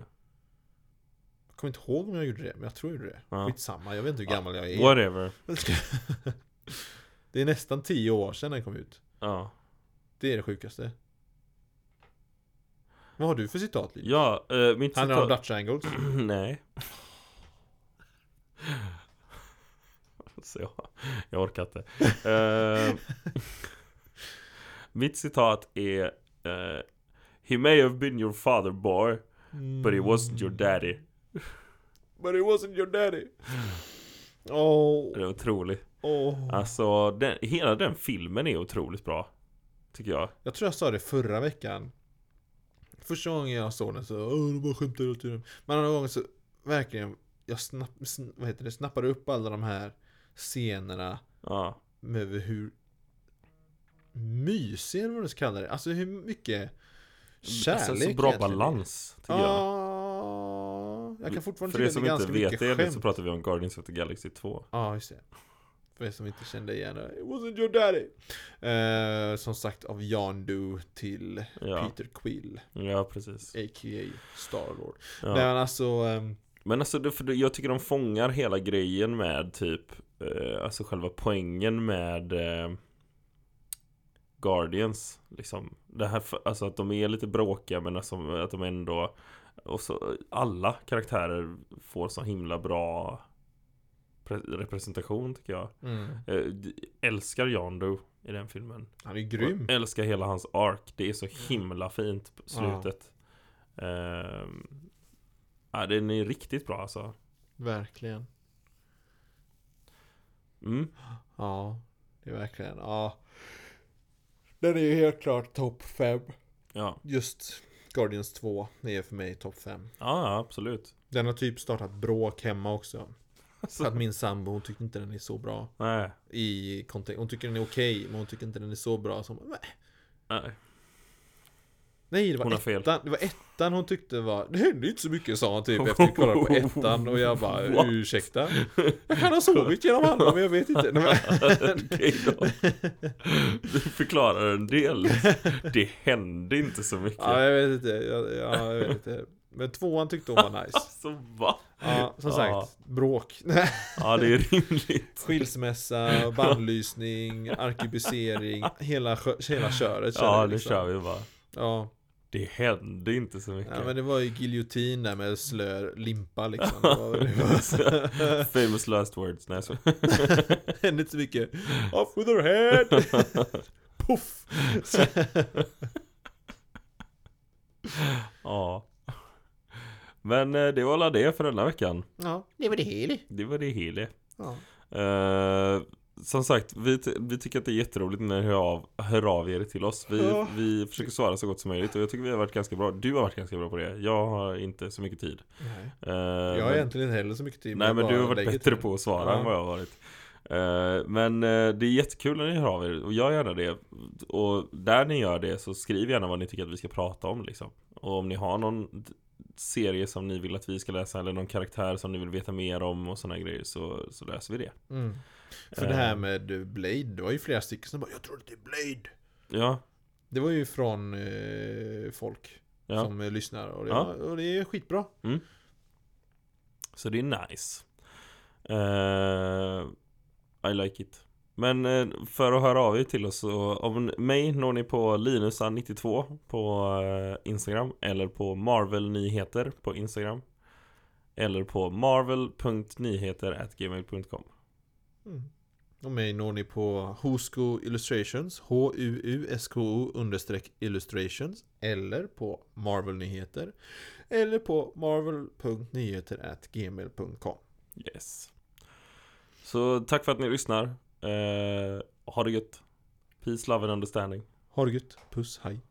Jag kommer inte ihåg om jag gjorde det Men jag tror jag gjorde det
Ja.
Skitsamma, jag vet inte hur gammal jag är
Whatever
[LAUGHS] Det är nästan 10 år sedan den kom ut
Ja,
Det är det sjukaste Vad har du för citat Linus?
ja eh, mitt
Handlar det om
citat
Dutch Angles?
[CLEARS THROAT] Nej Så jag, jag orkar inte Eh, [LAUGHS] Mitt citat är eh, He may have been your father boy But he wasn't your daddy
But it wasn't your
[SIGHS]
daddy Åh,
Det är otroligt
åh.
Alltså den, hela den filmen är otroligt bra Tycker jag
Jag tror jag sa det förra veckan Första gången jag såg den så Åh, de bara skämtar hela tiden Men andra gången så verkligen Jag snapp, sn, vad heter det, snappade upp alla de här scenerna
Ja
Med hur Mysig eller vad du ska kalla det Alltså hur mycket Kärlek
Alltså, Så bra
egentligen.
balans tycker jag
Ja, jag kan fortfarande
För er
tycka att
som
det är
inte
ganska mycket
vet det
skämt
så pratar vi om Guardians of the Galaxy 2
Ja, just det. För er som inte kände igen det. It wasn't your daddy. Eh, som sagt av Jan Du till
Ja,
Peter Quill,
ja precis
a.k.a. Starlord.
ja.
Men alltså, ehm,
Men alltså, det, för det- jag tycker de fångar hela grejen med typ eh, Alltså själva poängen med eh, Guardians liksom det här, för- Alltså att de är lite bråkiga men alltså, att de ändå Och så alla karaktärer får så himla bra pre- Representation tycker jag
mm,
eh, d- Älskar Yondu i den filmen
han är grym.
jag älskar hela hans ark. Det är så himla fint på slutet. Ehm, Ja, den är riktigt bra alltså.
Verkligen.
Mm.
Ja, det är verkligen. Ja. Den är ju helt klart topp 5.
Ja.
Just Guardians 2 är för mig topp 5.
ja, ja,
[LAUGHS]
absolut.
Den har typ startat bråk hemma också.
Alltså,
För att min sambo, hon tyckte inte den är så bra.
nej,
i kontext. Hon tycker den är okej, men hon tycker inte den är så bra som... Nej, [LAUGHS]
nej.
Nej, det var
Hon har fel.
ettan. Det var ettan hon tyckte var... Det hände inte så mycket, sa hon typ efter att vi kollade på ettan. Och jag bara,
[LAUGHS] What?
ursäkta? Jag kan ha sovit genom handen, men jag vet inte. Nej, men-
Okej då. Du förklarar en del. Det hände inte så mycket.
Ja, jag vet inte. Jag, ja, jag vet inte. Men tvåan tyckte hon var nice.
Alltså va?
Ja, som
Ja.
sagt, bråk. [LAUGHS]
Ja, det är rimligt. [LAUGHS]
Skilsmässa, bannlysning, arkebusering, hela, skö- hela köret körde
Ja,
vi
nu
liksom.
kör vi bara.
Ja.
Det hände inte så mycket.
ja, men det var ju giljotin där med slö limpa liksom. Det var,
[LAUGHS]
det var,
Famous last words. Nej, så.
[LAUGHS] hände inte så mycket. Off with
[LAUGHS]
her head! Puff! Så,
Ja. Men eh, det var alla det för denna veckan.
ja, det var det heli.
Det var det hela.
Ja.
Eh, som sagt, vi, ty- vi tycker att det är jätteroligt när ni hör av, hör av er till oss. Vi,
Ja.
vi försöker svara så gott som möjligt och jag tycker vi har varit ganska bra. Du har varit ganska bra på det. Jag har inte så mycket tid.
Nej.
Eh,
Jag har egentligen inte heller så mycket tid.
Nej
jag
men
bara
du har varit
lägger
bättre
till.
på att svara
Ja.
än vad jag har varit Eh, Men eh, det är jättekul när ni hör av er och gör gärna det Och där ni gör det så skriv gärna vad ni tycker att vi ska prata om liksom Och om ni har någon serie som ni vill att vi ska läsa eller någon karaktär som ni vill veta mer om och sådana grejer så, så läser vi det.
Mm. För det
Eh.
här med Blade, det var ju flera stycken som bara Jag tror det är Blade!
Ja,
Det var ju från eh, folk
ja.
som eh, lyssnar och det,
Ja.
var, och det är skitbra.
Så det är nice. Eh, I like it. Men eh, för att höra av er till oss så av n- mig når ni på linusan92 på eh, Instagram eller på marvelnyheter på Instagram. Eller på marvel.nyheter@gmail.com.
Mm. Och mig når ni på Husko Illustrations, H-U-U-S-K-O understreck illustrations eller på Marvel Nyheter eller på marvel.nyheter.gmail.com
Yes. Så tack för att ni lyssnar. Eh, ha det gött. Peace, love and understanding.
Ha det gött, puss, hej!